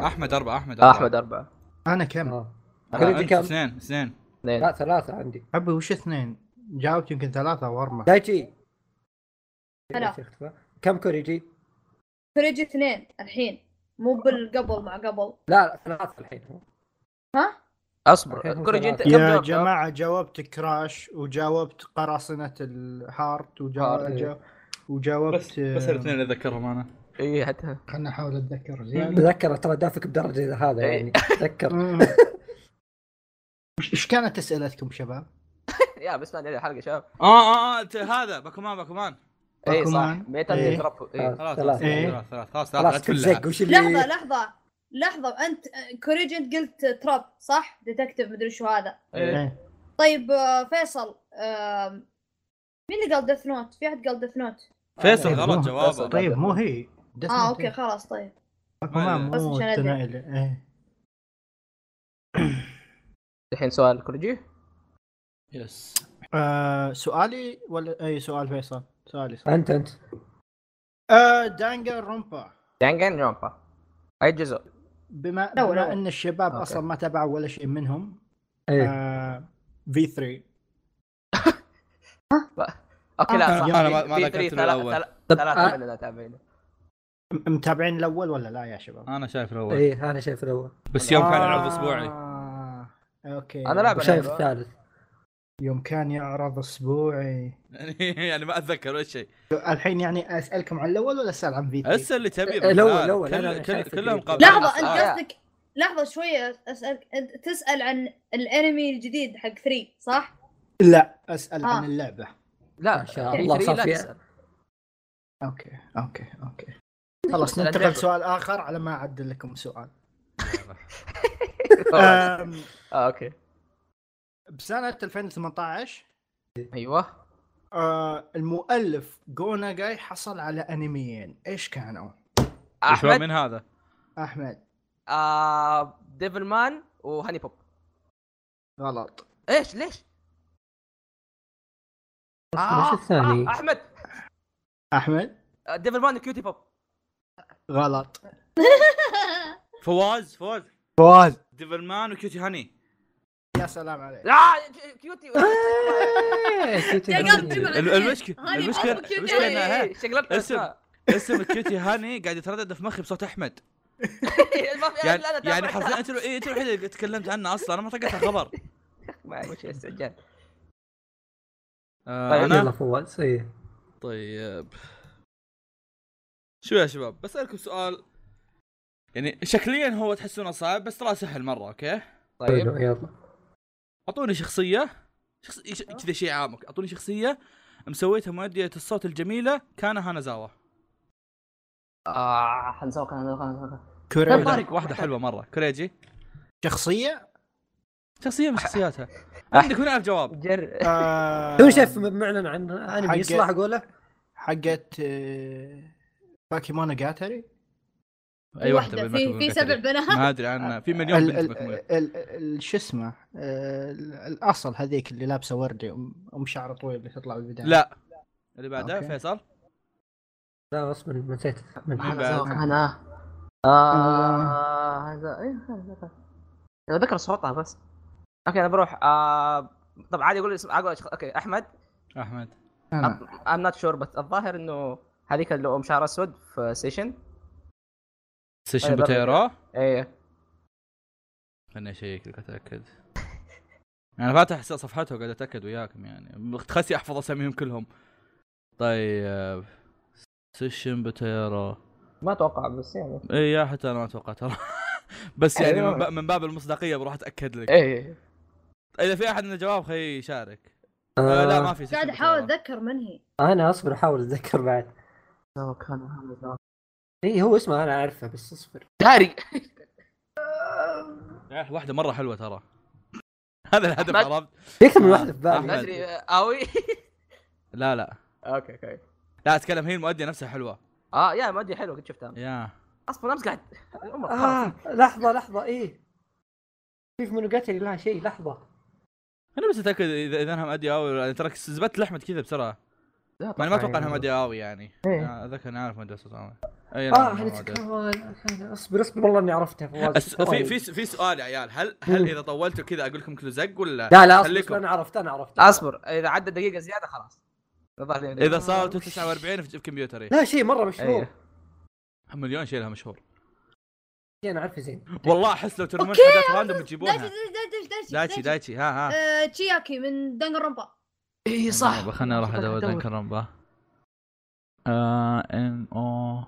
Speaker 2: احمد اربعه احمد أربعة.
Speaker 1: احمد اربعه
Speaker 4: انا كم؟
Speaker 3: اه
Speaker 2: آه،
Speaker 3: كوريجي
Speaker 2: أنت
Speaker 3: كم؟
Speaker 2: اثنين اثنين
Speaker 1: اثنين
Speaker 3: لا ثلاثه عندي
Speaker 4: عبي وش اثنين؟ جاوبت يمكن ثلاثه وارمى
Speaker 3: دايتشي
Speaker 6: هلا.
Speaker 3: دايتشي اختفى. كم كوريجي؟
Speaker 6: كوريجي اثنين الحين مو بالقبل مع قبل
Speaker 3: لا لا ثلاثه الحين
Speaker 1: اصبر كوريجي انت كم
Speaker 4: يا
Speaker 1: جاوبت؟
Speaker 4: جماعة جاوبت كراش وجاوبت قراصنة الهارت
Speaker 1: هارت،
Speaker 4: وجاوبت
Speaker 3: إيه.
Speaker 4: وجاوبت
Speaker 2: بس بس الاثنين اللي اتذكرهم انا
Speaker 1: اي إيه، حتى
Speaker 4: خلنا احاول اتذكر زيادة
Speaker 3: تذكر ترى دافك بدرجه إذا هذا
Speaker 1: إيه.
Speaker 3: يعني تذكر
Speaker 4: مم. وش- ايش كانت اسئلتكم شباب؟
Speaker 1: يا بس ما عليه الحلقه شباب
Speaker 2: اه اه اه ت- هذا باكومان باكومان
Speaker 1: اي صح
Speaker 4: باكومان.
Speaker 1: ميتا
Speaker 4: إيه.
Speaker 1: يضرب
Speaker 3: آه،
Speaker 2: خلاص خلاص
Speaker 3: ثلاثه
Speaker 4: إيه.
Speaker 2: خلاص خلاص خلاص لا
Speaker 3: خلاص كنت زق
Speaker 2: تفلها
Speaker 3: وش
Speaker 6: لحظه
Speaker 3: اللي
Speaker 6: لحظه لحظه انت كوريجي انت قلت تراب صح ديتكتيف مدري شو هذا
Speaker 2: إيه.
Speaker 4: إيه.
Speaker 6: طيب آه، فيصل آم، مين اللي قال ديث نوت في احد قال ديث نوت
Speaker 2: فيصل
Speaker 4: طيب،
Speaker 2: غلط
Speaker 4: مو-
Speaker 2: جوابه آه،
Speaker 4: طيب مو هي
Speaker 2: إيه.
Speaker 6: اه اوكي خلاص طيب
Speaker 4: باكومان
Speaker 2: ما-
Speaker 6: بس
Speaker 4: مو
Speaker 6: عشان أدري.
Speaker 4: تنائل إيه.
Speaker 1: الحين سؤال كوريجي
Speaker 2: يس
Speaker 4: آه، سؤالي ولا اي سؤال فيصل؟ سؤالي صح
Speaker 3: انت انت
Speaker 4: آه، دانجر رومبا
Speaker 1: دانجن جامبا اي جزء
Speaker 4: بما,
Speaker 6: لا، لا.
Speaker 4: بما ان الشباب
Speaker 1: أوكي. إيه.
Speaker 4: اصلا ما تابعوا ولا شيء منهم آه،
Speaker 3: ايه
Speaker 4: في 3
Speaker 1: اوكي لا صح
Speaker 2: آه، أنا ما-
Speaker 1: في-
Speaker 2: ما
Speaker 1: في
Speaker 2: ذكرت
Speaker 1: three
Speaker 2: إنه
Speaker 1: ثلا-
Speaker 2: الأول.
Speaker 1: ثلا-
Speaker 3: طب آه،
Speaker 1: ثلاثه مننا تابعين
Speaker 4: متابعين الاول ولا لا يا شباب؟
Speaker 2: انا شايف الاول
Speaker 3: اي انا إيه، شايف الاول
Speaker 2: بس يوم كان
Speaker 4: آه،
Speaker 2: العرض اسبوعي
Speaker 4: اوكي
Speaker 1: أنا لعب-
Speaker 3: وشايف الثالث
Speaker 4: يوم كان يعرض اسبوعي
Speaker 2: يعني ما اتذكر ولا شيء
Speaker 4: الحين يعني اسالكم عن الاول ولا اسال عن في 3
Speaker 2: هسه اللي تبي
Speaker 3: إيه، الأول-
Speaker 2: بالحال.
Speaker 3: الأول،
Speaker 2: كل-
Speaker 3: أنا- أنا
Speaker 2: كل-
Speaker 3: شايف
Speaker 2: كلهم
Speaker 3: الجديد.
Speaker 2: قبل
Speaker 6: لحظه
Speaker 1: آه.
Speaker 6: انت قصدك لحظه شويه اسالك انت تسال عن الانمي الجديد حق 3 صح؟
Speaker 4: لا اسال
Speaker 6: آه.
Speaker 4: عن اللعبه
Speaker 1: لا
Speaker 3: ما شاء الله،
Speaker 1: في three
Speaker 3: صار
Speaker 1: لا
Speaker 3: فيها.
Speaker 1: تسأل.
Speaker 4: اوكي اوكي اوكي خلاص
Speaker 1: أسأل عن
Speaker 4: ننتقل
Speaker 1: اللعبة.
Speaker 4: لسؤال اخر على ما اعدل لكم سؤال
Speaker 1: آه،
Speaker 4: آم،
Speaker 1: اوكي
Speaker 4: بسنه 2018
Speaker 1: ايوه
Speaker 4: آه، المؤلف جوناجاي حصل على انميين ايش كانوا؟
Speaker 2: احمد
Speaker 1: احمد
Speaker 2: من هذا
Speaker 4: احمد
Speaker 1: آه ديفل مان وهاني بوب
Speaker 4: غلط
Speaker 1: ايش ليش؟
Speaker 3: وش الثاني؟
Speaker 1: آه احمد
Speaker 4: احمد
Speaker 1: آه، ديفل مان وكيوتي بوب
Speaker 4: غلط
Speaker 2: فواز فواز
Speaker 4: فواز
Speaker 2: ديفل مان وكيوتي هاني
Speaker 4: يا سلام عليك
Speaker 1: لا ج- كيوتي
Speaker 3: آه. إيه،
Speaker 6: قاعد تجمع
Speaker 2: ال- المشكله
Speaker 6: هاني
Speaker 2: المشكله
Speaker 6: أبو كيوتي
Speaker 2: المشكله انها
Speaker 1: إيه، شغلتنا
Speaker 2: اسم.
Speaker 1: أسماء.
Speaker 2: اسم كيوتي هاني قاعد يتردد في مخي بصوت احمد
Speaker 1: ما في-
Speaker 2: يعني
Speaker 1: لا، أنا
Speaker 2: يعني
Speaker 1: تابعتها.
Speaker 2: حرفيا انت الو- إيه، انت الوحيده اللي تكلمت عنه اصلا انا ما طقتها خبر
Speaker 1: ما وش الاستعجال
Speaker 2: آه،
Speaker 1: طيب،
Speaker 3: يلا
Speaker 2: انا
Speaker 3: فواز ايه
Speaker 2: طيب شو يا شباب بسالكم سؤال يعني شكليا هو تحسونه صعب بس ترى سهل مره اوكي
Speaker 1: طيب
Speaker 3: حلو يلا
Speaker 2: اعطوني شخصيه شخص ش- كذا شيء عام أوكي. اعطوني شخصيه مسويتها مؤدية الصوت الجميله كان هانازاوا
Speaker 1: اه حنسوق حنسوق، حنسوق
Speaker 4: كوريجي
Speaker 2: واحده واحده حلوه مره كريجي
Speaker 4: شخصية
Speaker 2: شخصيه من شخصياتها عندك هنا ألف جواب
Speaker 1: جر
Speaker 4: آه،
Speaker 3: تو شايف معلن عن انمي
Speaker 4: حق-
Speaker 3: يصلح اقوله؟
Speaker 4: حقت آه، باكيمونا جاتري
Speaker 2: اي واحده
Speaker 6: في
Speaker 2: بالمكتب
Speaker 6: في
Speaker 2: بالمكتب.
Speaker 6: سبع بنات
Speaker 2: ما ادري عنها في مليون
Speaker 4: ال-
Speaker 2: بنت
Speaker 4: ال-
Speaker 2: مكمولة.
Speaker 4: ال- ال- شو اسمه آه، ال- الاصل هذيك اللي لابسه وردي ام أم شعر طويل اللي تطلع بالبدايه
Speaker 2: لا اللي بعده
Speaker 4: أوكي.
Speaker 2: فيصل
Speaker 3: لا غصبا نسيت من-
Speaker 2: مين بعد؟
Speaker 1: حنسوق انا
Speaker 4: آه.
Speaker 1: آه، هذا- إيه، هذا- انا ذكر صوتها بس اوكي انا بروح آه طب عادي اقول اسم اقول أشخ- اوكي احمد
Speaker 2: احمد
Speaker 4: أنا.
Speaker 1: ام نوت شور بس الظاهر انه هذيك اللي ام شعر اسود في سيشن
Speaker 2: سيشن
Speaker 1: طيب، أبدأ.
Speaker 2: بوتيرو
Speaker 1: ايه
Speaker 2: خليني اشيك لك اتاكد انا يعني فاتح س- صفحته وقاعد اتاكد وياكم يعني تخسي احفظ اساميهم كلهم طيب سيشن بوتيرو
Speaker 1: ما اتوقع بس يعني
Speaker 2: اي يا حتى انا ما اتوقع ترى بس يعني
Speaker 1: أيوة.
Speaker 2: من باب- من باب المصداقيه بروح اتاكد لك
Speaker 1: ايه
Speaker 2: اذا في احد عنده جواب خي يشارك آه لا ما في سيشن
Speaker 6: قاعد احاول
Speaker 2: بوتيرو.
Speaker 6: اتذكر من هي
Speaker 3: انا اصبر احاول اتذكر بعد
Speaker 1: لو كان هذا
Speaker 3: اي هو اسمه انا اعرفه بس اصبر
Speaker 1: داري
Speaker 2: آه، واحده مره حلوه ترى هذا الهدف
Speaker 1: أحمد.
Speaker 2: عرفت
Speaker 3: في اكثر من
Speaker 2: آه،
Speaker 3: واحده في بالي
Speaker 2: أحمد.
Speaker 1: ما ادري اوي
Speaker 2: لا لا
Speaker 1: اوكي اوكي
Speaker 2: لا اتكلم هي المؤديه نفسها حلوه
Speaker 1: آه، اه يا مادي حلو كنت شفتها
Speaker 2: يا
Speaker 1: اصبر امس قاعد عمر
Speaker 3: آه لحظة لحظة إيه كيف مونوجاتري لها شيء لحظة
Speaker 2: إيه، انا بس اتاكد اذا اذا انها مادي اوي ولا- يعني ترى زبدت لحمد كذا بسرعه
Speaker 4: لا
Speaker 2: ما انا ما
Speaker 4: طبعاً
Speaker 2: اتوقع انها
Speaker 4: يعني.
Speaker 2: مادي اوي يعني
Speaker 4: إيه.
Speaker 2: أنا ذاك انا عارف مادي اوي اي
Speaker 3: آه
Speaker 2: نعم
Speaker 3: احنا
Speaker 2: إنها مادي أوي.
Speaker 3: كمان اصبر اصبر والله إني عرفتها فواز طيب.
Speaker 2: أس... في في س- في سؤال يا عيال هل هل
Speaker 3: مم.
Speaker 2: اذا طولتوا كذا اقول لكم كل زق ولا
Speaker 3: لا لا اصبر
Speaker 2: خليكم.
Speaker 3: أصبر، أنا عرفت أنا عرفت
Speaker 1: اصبر اذا عدى دقيقه زياده خلاص الظاهر لي-
Speaker 2: اذا صارت 49 في كمبيوتري
Speaker 3: لا شيء مرة مشهور
Speaker 2: أيوه.
Speaker 1: أيه.
Speaker 2: مليون شيء لها مشهور
Speaker 3: شيء أنا عارفه زين
Speaker 2: والله احس لو ترمون
Speaker 7: أوكي،
Speaker 2: حاجات راندوم
Speaker 5: دايتشي
Speaker 2: تجيبونها
Speaker 5: دايتشي دايتشي
Speaker 2: دايتشي دايتشي ها ها
Speaker 5: آه، تشياكي من دنجر رومبا
Speaker 2: إيه،
Speaker 1: اي صح
Speaker 2: خلنا اروح
Speaker 3: صح،
Speaker 2: ادور
Speaker 3: دور.
Speaker 2: دنكن رمبا آه ام او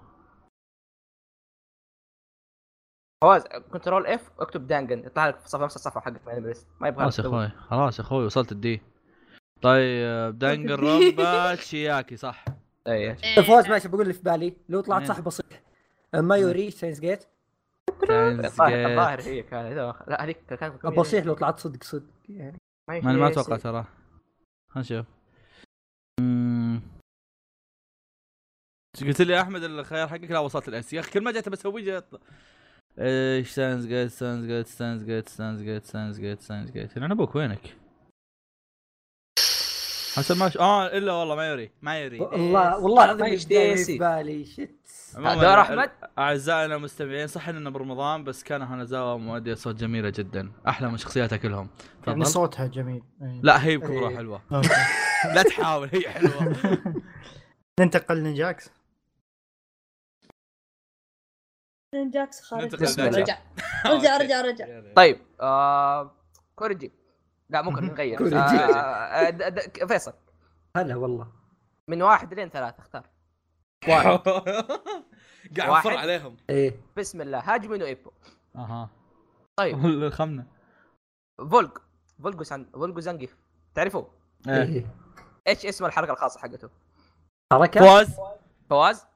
Speaker 1: فواز كنترول اف اكتب دانجن يطلع لك في صفحه نفس الصفحه حقت ماني بس ما يبغى
Speaker 2: خلاص يا اخوي خلاص يا اخوي وصلت الدي طيب دنجن رمبا تشياكي صح
Speaker 1: اي
Speaker 3: فواز ماشي بقول اللي في بالي لو طلعت
Speaker 2: إيه.
Speaker 3: صح بصيح مايوري ساينس جيت
Speaker 2: Steins
Speaker 1: الظاهر
Speaker 2: Gate.
Speaker 1: الظاهر هي كانت لا هذيك كانت
Speaker 2: إيه.
Speaker 3: بصيح لو طلعت صدق صدق يعني
Speaker 2: ما أنا ما اتوقع ترى هنشوف أمم. قلت لي يا احمد الخيار حقك لا وصلت الاس يا اخي كل ما جيت بسوي جت ايش سانز جيت سانز جيت سانز جيت سانز جيت سانز جيت سانز جيت انا ابوك وينك؟ حسن ما ش... اه الا والله ما يري ما يري
Speaker 3: والله والله العظيم
Speaker 1: ما
Speaker 3: اللي في بالي-
Speaker 1: يشتيسي.
Speaker 3: في بالي شت
Speaker 2: عموماً،
Speaker 1: دور احمد
Speaker 2: اعزائنا المستمعين صح اننا برمضان بس كان هانزاوا مؤدية صوت جميله جدا احلى من شخصياتها كلهم
Speaker 4: يعني
Speaker 2: تفضل
Speaker 4: صوتها جميل إيه.
Speaker 2: لا هي بكبرها
Speaker 3: إيه.
Speaker 2: حلوه
Speaker 4: أوكي.
Speaker 2: لا تحاول هي حلوه
Speaker 4: ننتقل لنجاكس
Speaker 5: جاكس خارج
Speaker 2: ننتقل
Speaker 1: لنجاكس.
Speaker 5: رجع رجع رجع رجع
Speaker 1: طيب آه... كوريجي لا ممكن نغير
Speaker 3: كوريجي.
Speaker 1: آه... آه... د- د- فيصل
Speaker 3: هلا والله
Speaker 1: من واحد لين ثلاثة اختار
Speaker 2: واحد قاعد
Speaker 1: واحد.
Speaker 2: انفر عليهم
Speaker 3: ايه
Speaker 1: بسم الله هاجمين وايبو
Speaker 2: اها
Speaker 1: طيب
Speaker 2: الخمنه
Speaker 1: فولج فولجو سان فولجو زنجيف تعرفوه
Speaker 2: إيه.
Speaker 3: ايه
Speaker 1: ايش اسم الحركة الخاصة حقته
Speaker 3: حركة
Speaker 2: فوز
Speaker 1: فواز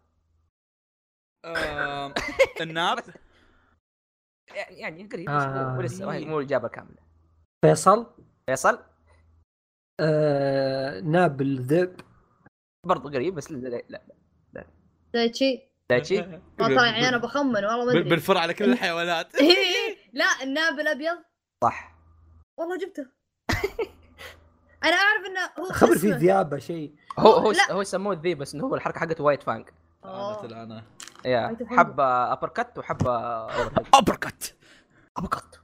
Speaker 2: آم، الناب
Speaker 1: يعني يعني قريب
Speaker 3: آه.
Speaker 1: بس مو- ولسه ما هي- مو الإجابة الكاملة
Speaker 3: فيصل
Speaker 1: فيصل
Speaker 3: آه ناب الذئب
Speaker 1: برضو قريب بس لا لا لا
Speaker 5: دايتشي
Speaker 1: دايتشي
Speaker 5: ما طلع يعني انا بخمن والله ما ادري
Speaker 2: بالفرع على كل الحيوانات
Speaker 5: لا الناب الابيض
Speaker 1: صح
Speaker 5: والله جبته انا اعرف انه هو
Speaker 3: خبر في
Speaker 5: اسمه.
Speaker 3: ذيابة شيء
Speaker 1: هو هو
Speaker 5: لا.
Speaker 1: هو يسموه ذي بس انه هو الحركة حقته وايت فانك
Speaker 5: أوه.
Speaker 2: انا
Speaker 1: يا
Speaker 5: وايد فانك.
Speaker 1: حبة ابر كت وحبة
Speaker 2: ابركت
Speaker 1: ابر كت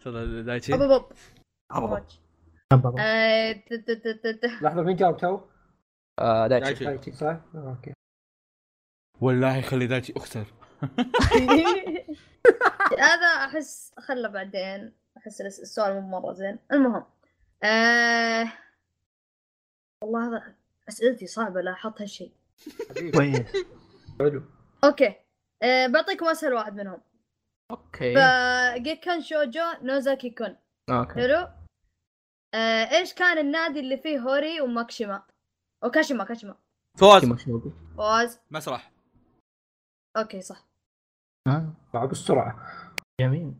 Speaker 2: ترى دايتشي
Speaker 5: ابو بوب
Speaker 1: ابر
Speaker 5: آه، ت- ت- ت- ت- ت-
Speaker 3: لحظة مين جاوب تو؟
Speaker 1: دايتشي
Speaker 2: دايتشي.
Speaker 3: دايتشي صح؟ آه، اوكي
Speaker 2: والله خلي دايتشي اخسر
Speaker 5: هذا احس خله بعدين احس الس- السؤال مو مره زين المهم آه... والله هذا اسئلتي صعبه لا احط هالشيء
Speaker 4: كويس
Speaker 3: طيب، حلو
Speaker 5: اوكي آه بعطيكم اسهل واحد منهم
Speaker 1: اوكي
Speaker 2: إيه.
Speaker 5: فجيكن شوجو نوزاكي كون
Speaker 1: اوكي
Speaker 5: حلو آه، ايش كان النادي اللي فيه هوري وماكشيما وكاشيما كاشيما
Speaker 2: فوز
Speaker 5: فواز
Speaker 2: مسرح
Speaker 5: اوكي صح
Speaker 4: آه،
Speaker 3: مع بالسرعة
Speaker 4: جميل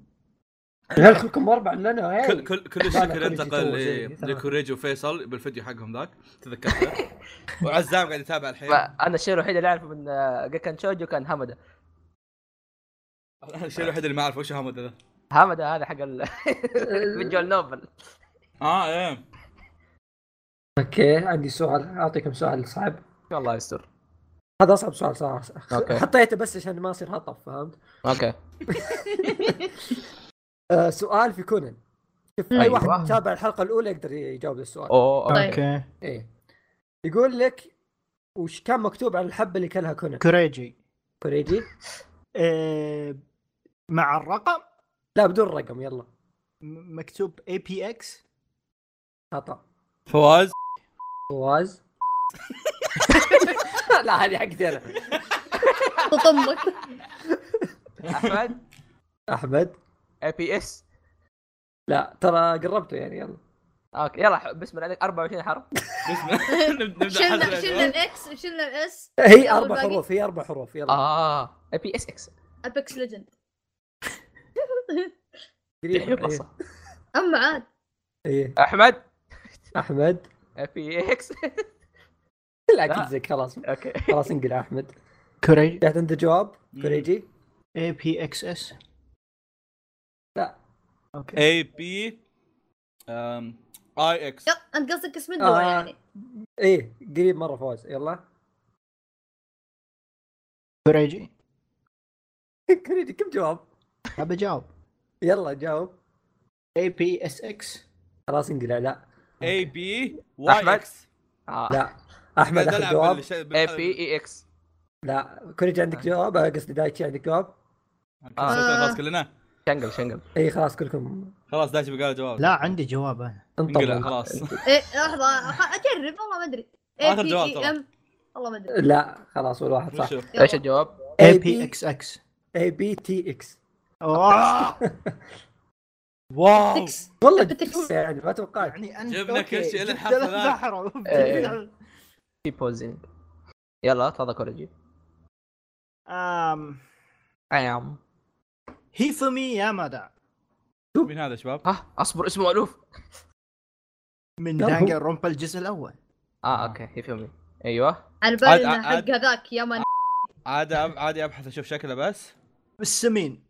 Speaker 3: يا هل كلكم أربع لنا هاي
Speaker 2: كل كل كل
Speaker 3: إيه. لا،
Speaker 2: الشكل
Speaker 3: لا، كوريجي
Speaker 2: انتقل
Speaker 3: تو زي-
Speaker 2: إيه،
Speaker 3: تمام.
Speaker 2: لكوريجي وفيصل بالفيديو حقهم ذاك تذكرته وعزام قاعد يتابع الحين
Speaker 1: انا الشيء الوحيد اللي اعرفه من آه، كان شوجو كان همدا
Speaker 2: الشيء الوحيد اللي ما اعرفه وش همد ذا
Speaker 1: همدا هذا حق ال-
Speaker 3: آه،
Speaker 1: فيجوال نوبل
Speaker 2: اه ايه
Speaker 3: اوكي عندي سؤال اعطيكم سؤال صعب
Speaker 1: والله يستر
Speaker 3: هذا اصعب سؤال صراحه
Speaker 1: أوكي.
Speaker 3: حطيته بس عشان ما اصير هطف فهمت؟
Speaker 1: اوكي
Speaker 3: آه سؤال في كونن شوف اي
Speaker 1: أيوة.
Speaker 3: واحد تابع الحلقه الاولى يقدر يجاوب السؤال
Speaker 1: اوه أوكي.
Speaker 5: طيب.
Speaker 4: اوكي
Speaker 3: ايه يقول لك وش كان مكتوب على الحبه اللي كلها كونن؟
Speaker 4: كوريجي
Speaker 3: كوريجي؟
Speaker 4: آه، مع الرقم
Speaker 3: لا بدون رقم يلا
Speaker 4: م- مكتوب اي بي اكس
Speaker 3: خطا
Speaker 2: فواز
Speaker 3: فواز لا هذه حقتي انا
Speaker 5: تطمك
Speaker 1: احمد
Speaker 3: احمد
Speaker 1: اي بي اس
Speaker 3: لا ترى قربته يعني يلا
Speaker 1: اوكي يلا ح- بسم الله عليك 24 حرف
Speaker 2: بسم- نبدا
Speaker 5: شلنا شلنا
Speaker 2: حلقة.
Speaker 5: الاكس وشلنا الاس
Speaker 3: هي
Speaker 5: يلا
Speaker 3: اربع
Speaker 5: الباقي.
Speaker 3: حروف هي اربع حروف يلا
Speaker 1: اه اي بي اس اكس
Speaker 5: ابيكس ليجند
Speaker 1: الحين
Speaker 3: قريب إيه،
Speaker 1: بصح.
Speaker 5: اما عاد
Speaker 3: ايه
Speaker 1: احمد
Speaker 3: احمد
Speaker 1: اي بي اكس
Speaker 3: لا كل زي خلاص
Speaker 1: اوكي
Speaker 3: خلاص انقل يا احمد
Speaker 4: كوريجي
Speaker 3: جات عندك جواب كوريجي
Speaker 4: اي بي اكس اس
Speaker 3: لا.
Speaker 4: اوكي
Speaker 2: اي بي um, اي اكس
Speaker 5: يلا انت قصدك اسم الدول
Speaker 3: آه.
Speaker 5: يعني
Speaker 3: ايه قريب مره فوز يلا
Speaker 4: كوريجي
Speaker 3: كريدي كم جواب
Speaker 4: ابى اجاوب
Speaker 3: يلا جاوب
Speaker 4: اي بي اس اكس
Speaker 3: خلاص انقلع لا
Speaker 2: اي بي واي
Speaker 1: أحمد؟
Speaker 2: اكس
Speaker 1: اه
Speaker 3: لا احمد اخذ جواب
Speaker 1: اي بي اي اكس
Speaker 3: لا كوريجي عندك جواب آه، قصدي دايتشي عندك جواب
Speaker 5: آه.
Speaker 2: خلاص كلنا
Speaker 1: شنقل شنقل
Speaker 3: اي خلاص كلكم
Speaker 2: خلاص داش بقال جواب
Speaker 4: لا عندي جواب انا
Speaker 2: انقلع
Speaker 3: انطلع
Speaker 2: خلاص
Speaker 5: إيه لحظه خ- اجرب والله ما ادري
Speaker 2: آخر جواب ترى.
Speaker 5: ام والله ما ادري
Speaker 3: لا خلاص ولا واحد صح
Speaker 2: نشوف
Speaker 1: ايش الجواب؟
Speaker 4: اي بي اكس اكس
Speaker 3: اي بي تي اكس
Speaker 2: واو
Speaker 5: تكس
Speaker 3: والله
Speaker 5: أبي تكس.
Speaker 3: جبتها يعني ما توقعت
Speaker 4: يعني انت
Speaker 2: جبنا كل شيء إلا الحرف ذاك.
Speaker 4: ذاك
Speaker 1: في بوزنج يلا تفضل كوريجي عيام
Speaker 4: هيفمي يامادا
Speaker 2: مين هذا يا شباب؟
Speaker 5: آه.
Speaker 1: ها اصبر اسمه الوف
Speaker 4: من
Speaker 3: لا، هو-
Speaker 4: دانجر رومبا الجزء الاول
Speaker 1: اه اوكي في فيلمي ايوه
Speaker 5: على
Speaker 2: عاد-
Speaker 5: بالي انه
Speaker 2: عاد-
Speaker 5: حق هذاك يا من
Speaker 2: عادي أب- عادي ابحث اشوف شكله بس
Speaker 4: بالسمين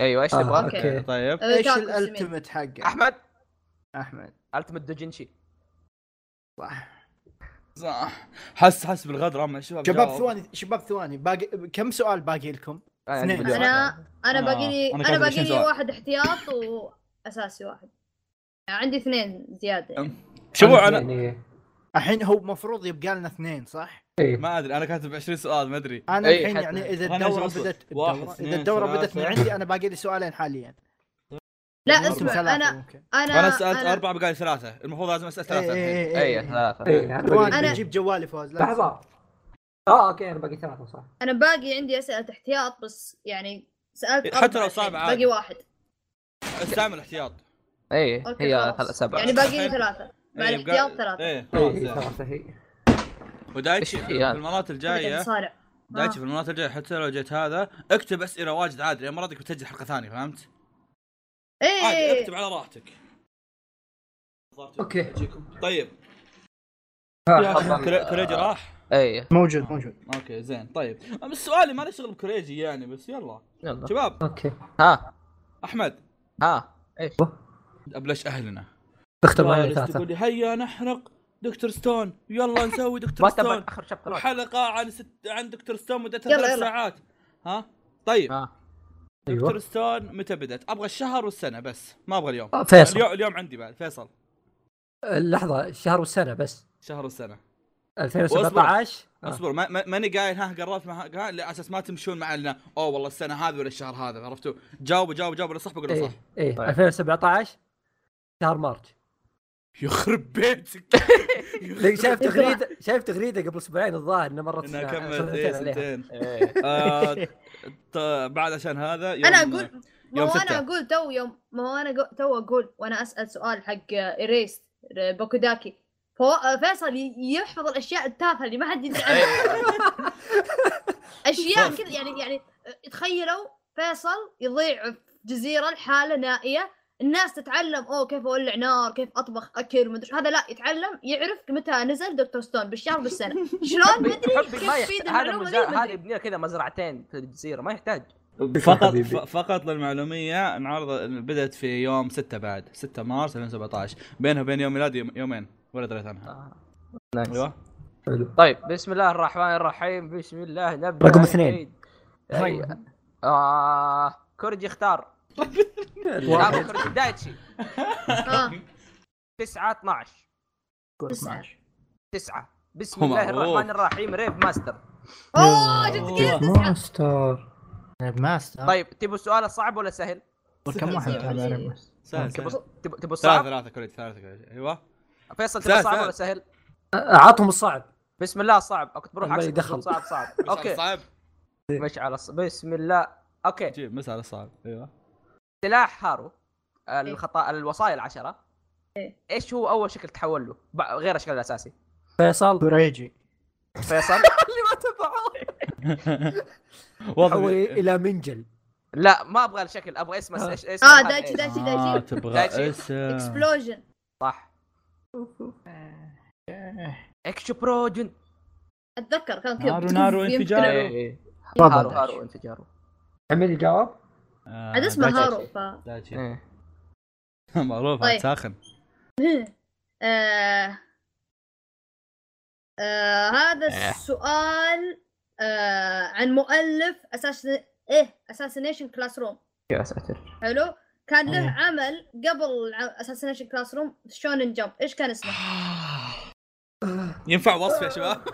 Speaker 1: ايوه ايش
Speaker 3: آه،
Speaker 1: تبغى؟
Speaker 3: أوكي.
Speaker 2: آه، طيب
Speaker 4: ايش
Speaker 5: أوتاكو اسمه.
Speaker 4: الالتمت حقه
Speaker 1: احمد
Speaker 4: احمد
Speaker 1: التمت دوجنشي
Speaker 4: صح
Speaker 2: صح حس حس بالغدر اما شباب
Speaker 4: شباب
Speaker 2: جاوب.
Speaker 4: ثواني شباب ثواني باقي كم سؤال باقي لكم؟
Speaker 1: آه، عندي
Speaker 4: اثنين.
Speaker 1: مليون.
Speaker 5: أنا- انا
Speaker 2: أنا-
Speaker 5: باقي لي
Speaker 2: أنا
Speaker 5: انا
Speaker 2: كاتب
Speaker 5: باقي
Speaker 2: 20
Speaker 5: لي
Speaker 2: سؤال.
Speaker 5: واحد احتياط واساسي واحد يعني عندي اثنين زياده يعني.
Speaker 2: شباب انا
Speaker 3: يعني
Speaker 4: الحين هو المفروض يبقى لنا اثنين صح؟
Speaker 3: إيه.
Speaker 2: ما ادري انا كاتب 20 سؤال ما ادري
Speaker 4: انا
Speaker 1: إيه،
Speaker 4: الحين
Speaker 1: حتى-
Speaker 4: يعني اذا
Speaker 2: خلنا
Speaker 4: الدوره
Speaker 2: نشوف.
Speaker 4: بدت
Speaker 2: واحد،
Speaker 4: الدورة-
Speaker 2: اثنين،
Speaker 4: اذا الدوره
Speaker 2: ثلاثة.
Speaker 4: بدت من عندي انا باقي لي سؤالين حاليا
Speaker 5: لا
Speaker 2: أربعة.
Speaker 5: اسمع
Speaker 4: ثلاثة
Speaker 5: انا
Speaker 4: ممكن.
Speaker 5: انا
Speaker 2: انا سالت
Speaker 5: أنا-
Speaker 2: اربعه بقالي ثلاثه المفروض لازم اسال ثلاثه
Speaker 4: إيه، إيه،
Speaker 2: الحين
Speaker 4: إيه،
Speaker 1: اي
Speaker 4: إيه.
Speaker 1: ثلاثة
Speaker 3: ايه
Speaker 4: ثواني
Speaker 5: أنا-
Speaker 3: انا
Speaker 4: بجيب جوالي فوز لا تسوي.
Speaker 3: لحظه اه اوكي انا باقي ثلاثه صح
Speaker 5: انا باقي عندي اسئله احتياط بس يعني سالت
Speaker 2: حتى
Speaker 5: أربعة
Speaker 2: لو صعب
Speaker 5: الحين،
Speaker 2: عادي.
Speaker 5: باقي واحد
Speaker 2: استعمل احتياط
Speaker 1: اي
Speaker 5: أوكي،
Speaker 1: هي
Speaker 5: خلاص.
Speaker 1: ثلاث سبعة
Speaker 5: يعني باقي لي ثلاثه مع
Speaker 2: إيه،
Speaker 5: الاحتياط
Speaker 2: بقى-
Speaker 5: ثلاثه
Speaker 2: ايه خلاص
Speaker 3: اي
Speaker 2: يعني.
Speaker 3: ثلاثه هي
Speaker 2: ودايتشي
Speaker 1: إيش
Speaker 2: في
Speaker 1: في هذا؟
Speaker 2: المرات
Speaker 5: أنا
Speaker 2: الجايه
Speaker 5: صارع آه.
Speaker 2: دايتشي في المرات الجايه حتى لو جيت هذا اكتب اسئله واجد عادي لان مراتك بتسجل حلقه ثانيه فهمت؟ عادي
Speaker 5: ايه
Speaker 2: اكتب على راحتك
Speaker 3: أوكي.
Speaker 2: أجيكم. طيب
Speaker 1: تفضل.
Speaker 2: كري- كريجي راح
Speaker 1: اي
Speaker 4: موجود موجود
Speaker 2: اوكي زين طيب بس سؤالي ما له شغل بكريجي يعني بس يلا
Speaker 1: يلا
Speaker 2: شباب
Speaker 3: اوكي
Speaker 1: ها
Speaker 2: احمد
Speaker 1: ها ايش
Speaker 2: ابلش اهلنا
Speaker 3: تختار معي
Speaker 2: جالس
Speaker 3: ثلاثه
Speaker 2: تقول لي هيا نحرق دكتور ستون يلا نسوي دكتور
Speaker 1: ما تبغى
Speaker 2: ستون
Speaker 1: اخر شابتر
Speaker 2: وحلقه عن ست... عن دكتور ستون مدتها
Speaker 5: يلا،
Speaker 2: ثلاث
Speaker 5: يلا.
Speaker 2: ساعات ها طيب
Speaker 1: ها
Speaker 2: دكتور
Speaker 1: أيوة.
Speaker 3: ايوه
Speaker 2: ستون متى بدات؟ ابغى الشهر والسنه بس ما ابغى اليوم
Speaker 3: آه، فيصل
Speaker 2: اليوم اليوم عندي بعد فيصل
Speaker 3: آه، لحظه الشهر والسنه بس
Speaker 2: شهر والسنه
Speaker 3: 2017 آه.
Speaker 2: اصبر ما- ما- ماني قايل ها قربت مع ها على اساس ما تمشون معنا اوه والله السنه هذه ولا الشهر هذا عرفتوا؟ جاوبوا جاوبوا جاوبوا صح بقولوا
Speaker 3: ايه
Speaker 2: صح
Speaker 3: ايه
Speaker 1: طيب.
Speaker 3: 2017 شهر مارس
Speaker 2: يخرب بيتك
Speaker 3: لك شايف تغريده شايف تغريده قبل اسبوعين الظاهر انه مرت
Speaker 2: انها
Speaker 3: سنة-
Speaker 2: كملت
Speaker 3: سنتين
Speaker 2: إيه،
Speaker 3: عليها. إيه.
Speaker 2: سنتين
Speaker 1: ايه
Speaker 2: آه، ط- بعد عشان هذا يوم
Speaker 5: انا اقول ما
Speaker 2: يوم
Speaker 5: هو
Speaker 2: ستة.
Speaker 5: انا اقول تو يوم ما هو انا قو- تو اقول وانا اسال سؤال حق ايريس باكوداكي فو- فيصل ي- يحفظ الاشياء التافهه اللي ما حد يدري عنها
Speaker 2: أيوة.
Speaker 5: اشياء كذا يعني يعني تخيلوا فيصل يضيع في جزيره لحاله نائيه الناس تتعلم اوه كيف اولع نار كيف اطبخ اكل مدري شو. هذا لا يتعلم يعرف متى نزل دكتور ستون بالشهر بالسنه شلون
Speaker 1: حبي
Speaker 5: مدري
Speaker 1: ما
Speaker 5: كيف
Speaker 1: يحتاج
Speaker 5: تفيد
Speaker 1: هذا
Speaker 5: المعلومه ذي
Speaker 1: مزار... هذه
Speaker 5: مدري
Speaker 1: يبني كذا مزرعتين في الجزيره ما يحتاج
Speaker 2: فقط
Speaker 3: حبيبي.
Speaker 2: ف- فقط للمعلوميه العرض بدات في يوم 6 بعد 6 مارس 2017 بينها وبين يوم ميلادي يوم- يومين ولا دريت عنها
Speaker 1: آه. نايس.
Speaker 2: ايوه
Speaker 3: حلو.
Speaker 1: طيب بسم الله الرحمن الرحيم بسم الله نبدا
Speaker 3: رقم اثنين.
Speaker 1: العيد. أيوة. آه كورجي اختار
Speaker 3: واحد.
Speaker 1: آه، كورجي دايتشي
Speaker 5: آه.
Speaker 1: 9 12
Speaker 5: 12.
Speaker 1: 9 بسم
Speaker 2: هو
Speaker 1: الله الرحمن
Speaker 2: معروف.
Speaker 1: الريم ريف ماستر
Speaker 5: اوه جبت كذا
Speaker 3: ماستر
Speaker 4: ريب
Speaker 3: آه.
Speaker 4: ماستر
Speaker 1: طيب تبوا السؤال الصعب ولا سهل؟
Speaker 4: كم واحد تابع ريب ماستر؟
Speaker 2: سهل
Speaker 1: تبوا
Speaker 2: سهل.
Speaker 1: تبوا- تبوا
Speaker 2: ثلاثة
Speaker 1: الصعب؟
Speaker 2: ثلاثة كوريج ثلاثة كوريج ايوه
Speaker 1: فيصل
Speaker 2: سهل،
Speaker 1: تبوا صعب
Speaker 2: سهل.
Speaker 1: ولا سهل؟
Speaker 3: اعطهم الصعب
Speaker 1: بسم الله صعب اوكي بروح
Speaker 3: الله
Speaker 1: عكس
Speaker 3: يدخل.
Speaker 1: صعب صعب
Speaker 2: مش على
Speaker 1: اوكي
Speaker 2: الصعب
Speaker 1: مش على الص- بسم الله اوكي
Speaker 2: جيب مش على الصعب ايوه
Speaker 1: سلاح هارو الخطا الوصايا العشره ايش هو اول شكل تحول له بع- غير الشكل الاساسي
Speaker 3: فيصل
Speaker 4: كوريجي
Speaker 1: فيصل
Speaker 3: اللي ما تبعه
Speaker 2: وضع
Speaker 3: تحول الى منجل
Speaker 1: لا ما ابغى الشكل ابغى اسمه
Speaker 3: آه.
Speaker 1: ايش اسمه
Speaker 5: اه
Speaker 1: هذا
Speaker 5: دايتشي
Speaker 1: إيش؟
Speaker 5: دايتشي
Speaker 2: آه،
Speaker 5: دايتشي
Speaker 2: تبغى
Speaker 1: دايتشي.
Speaker 2: اسم
Speaker 5: اكسبلوجن
Speaker 1: صح اكشو بروجن
Speaker 5: اتذكر كان كذا
Speaker 2: نارو نارو
Speaker 5: يمكن-
Speaker 2: انفجار
Speaker 1: إيه.
Speaker 4: تفضل
Speaker 1: هارو
Speaker 4: دايتشي.
Speaker 1: هارو انفجاره
Speaker 3: عمل لي جواب
Speaker 2: آه،
Speaker 5: عاد اسمه
Speaker 2: دايتشي.
Speaker 5: هارو ف
Speaker 2: دايتشي.
Speaker 1: إيه.
Speaker 2: معروف
Speaker 5: طيب.
Speaker 2: عاد ساخن
Speaker 5: إيه. آه... آه... هذا
Speaker 2: آه.
Speaker 5: السؤال آه... عن مؤلف اساس ايه اساسينيشن كلاس روم
Speaker 1: يا ساتر
Speaker 5: حلو كان له
Speaker 4: إيه.
Speaker 5: عمل قبل اساسينيشن كلاس روم شونن جمب ايش كان اسمه
Speaker 2: ينفع وصف يا شباب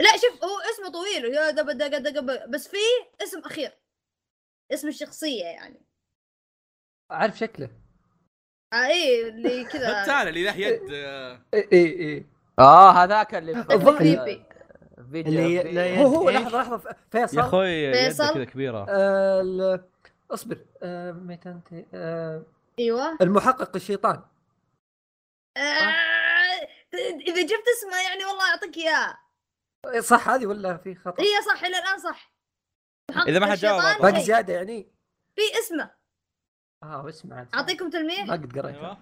Speaker 5: لا شوف هو اسمه طويل يا دب دب دب دب، بس في اسم اخير اسم الشخصيه يعني
Speaker 3: اعرف شكله
Speaker 5: آه ايه اللي كذا
Speaker 2: تعال اللي له يد آه،
Speaker 3: اي اي اي
Speaker 1: اه هذاك اللي
Speaker 3: الظاهر-
Speaker 5: كريبي
Speaker 4: اللي
Speaker 1: اللي
Speaker 4: لا
Speaker 3: هو هو
Speaker 4: يد إيش؟
Speaker 3: لحظه لحظه ف- فيصل
Speaker 2: يا اخوي يده
Speaker 5: فيصل.
Speaker 2: كذا كبيره
Speaker 3: آه، ال- اصبر آه، متى انت آه،
Speaker 5: ايوه
Speaker 3: المحقق الشيطان
Speaker 5: آه اذا جبت اسمه يعني والله اعطيك اياه
Speaker 3: إيه، صح هذه ولا في خطا؟
Speaker 5: هي صح الى الان صح
Speaker 2: إذا ما حد جاوب
Speaker 5: الشيطان
Speaker 2: أعطيك.
Speaker 3: باقي
Speaker 5: شيء.
Speaker 3: زياده يعني
Speaker 5: في اسمه
Speaker 3: اه اسمع عاد.
Speaker 5: اعطيكم تلميح
Speaker 3: ما قد قريتها
Speaker 2: أيوة.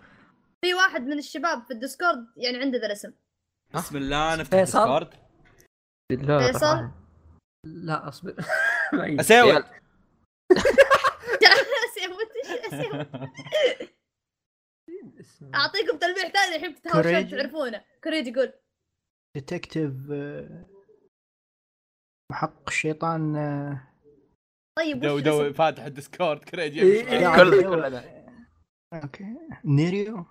Speaker 5: في واحد من الشباب في الديسكورد يعني عنده ذا الاسم
Speaker 2: بسم الله نفتح
Speaker 3: فيصل.
Speaker 2: الديسكورد آه،
Speaker 5: فيصل.
Speaker 3: لا اصبر بعيد.
Speaker 2: اسوي
Speaker 1: يلا.
Speaker 5: سيموت إيش اسمه؟
Speaker 3: اسمع.
Speaker 5: اعطيكم تلميح ثاني الحين بتهاوشون
Speaker 4: كوريجي.
Speaker 5: تعرفونه كوريجي يقول
Speaker 4: ديتكتيف آه، محقق الشيطان آه،
Speaker 5: طيب
Speaker 2: دو
Speaker 5: وش اسم-
Speaker 2: دو فاتح الديسكورد كريدي
Speaker 3: إيه،
Speaker 2: يمشي.
Speaker 4: إيه.
Speaker 1: كلنا كلنا
Speaker 4: اوكي نيريو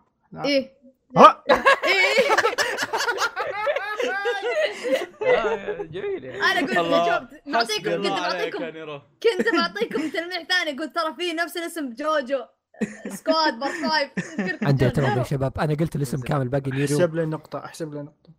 Speaker 5: ايه
Speaker 4: ها!
Speaker 5: ايه
Speaker 1: آه، جميل يعني.
Speaker 5: انا قلت
Speaker 2: الله.
Speaker 5: جاوبت
Speaker 2: حسبي
Speaker 5: بعطيكم كنت
Speaker 2: الله عليك يعني.
Speaker 5: بعطيكم
Speaker 2: يا نيرو.
Speaker 5: كنت بعطيكم تلميح ثاني قلت ترى في نفس الاسم بجوجو سكواد بار فايف
Speaker 8: عندي اعتراض يا شباب انا قلت الاسم كامل باقي نيرو
Speaker 4: احسب له نقطة احسب له نقطة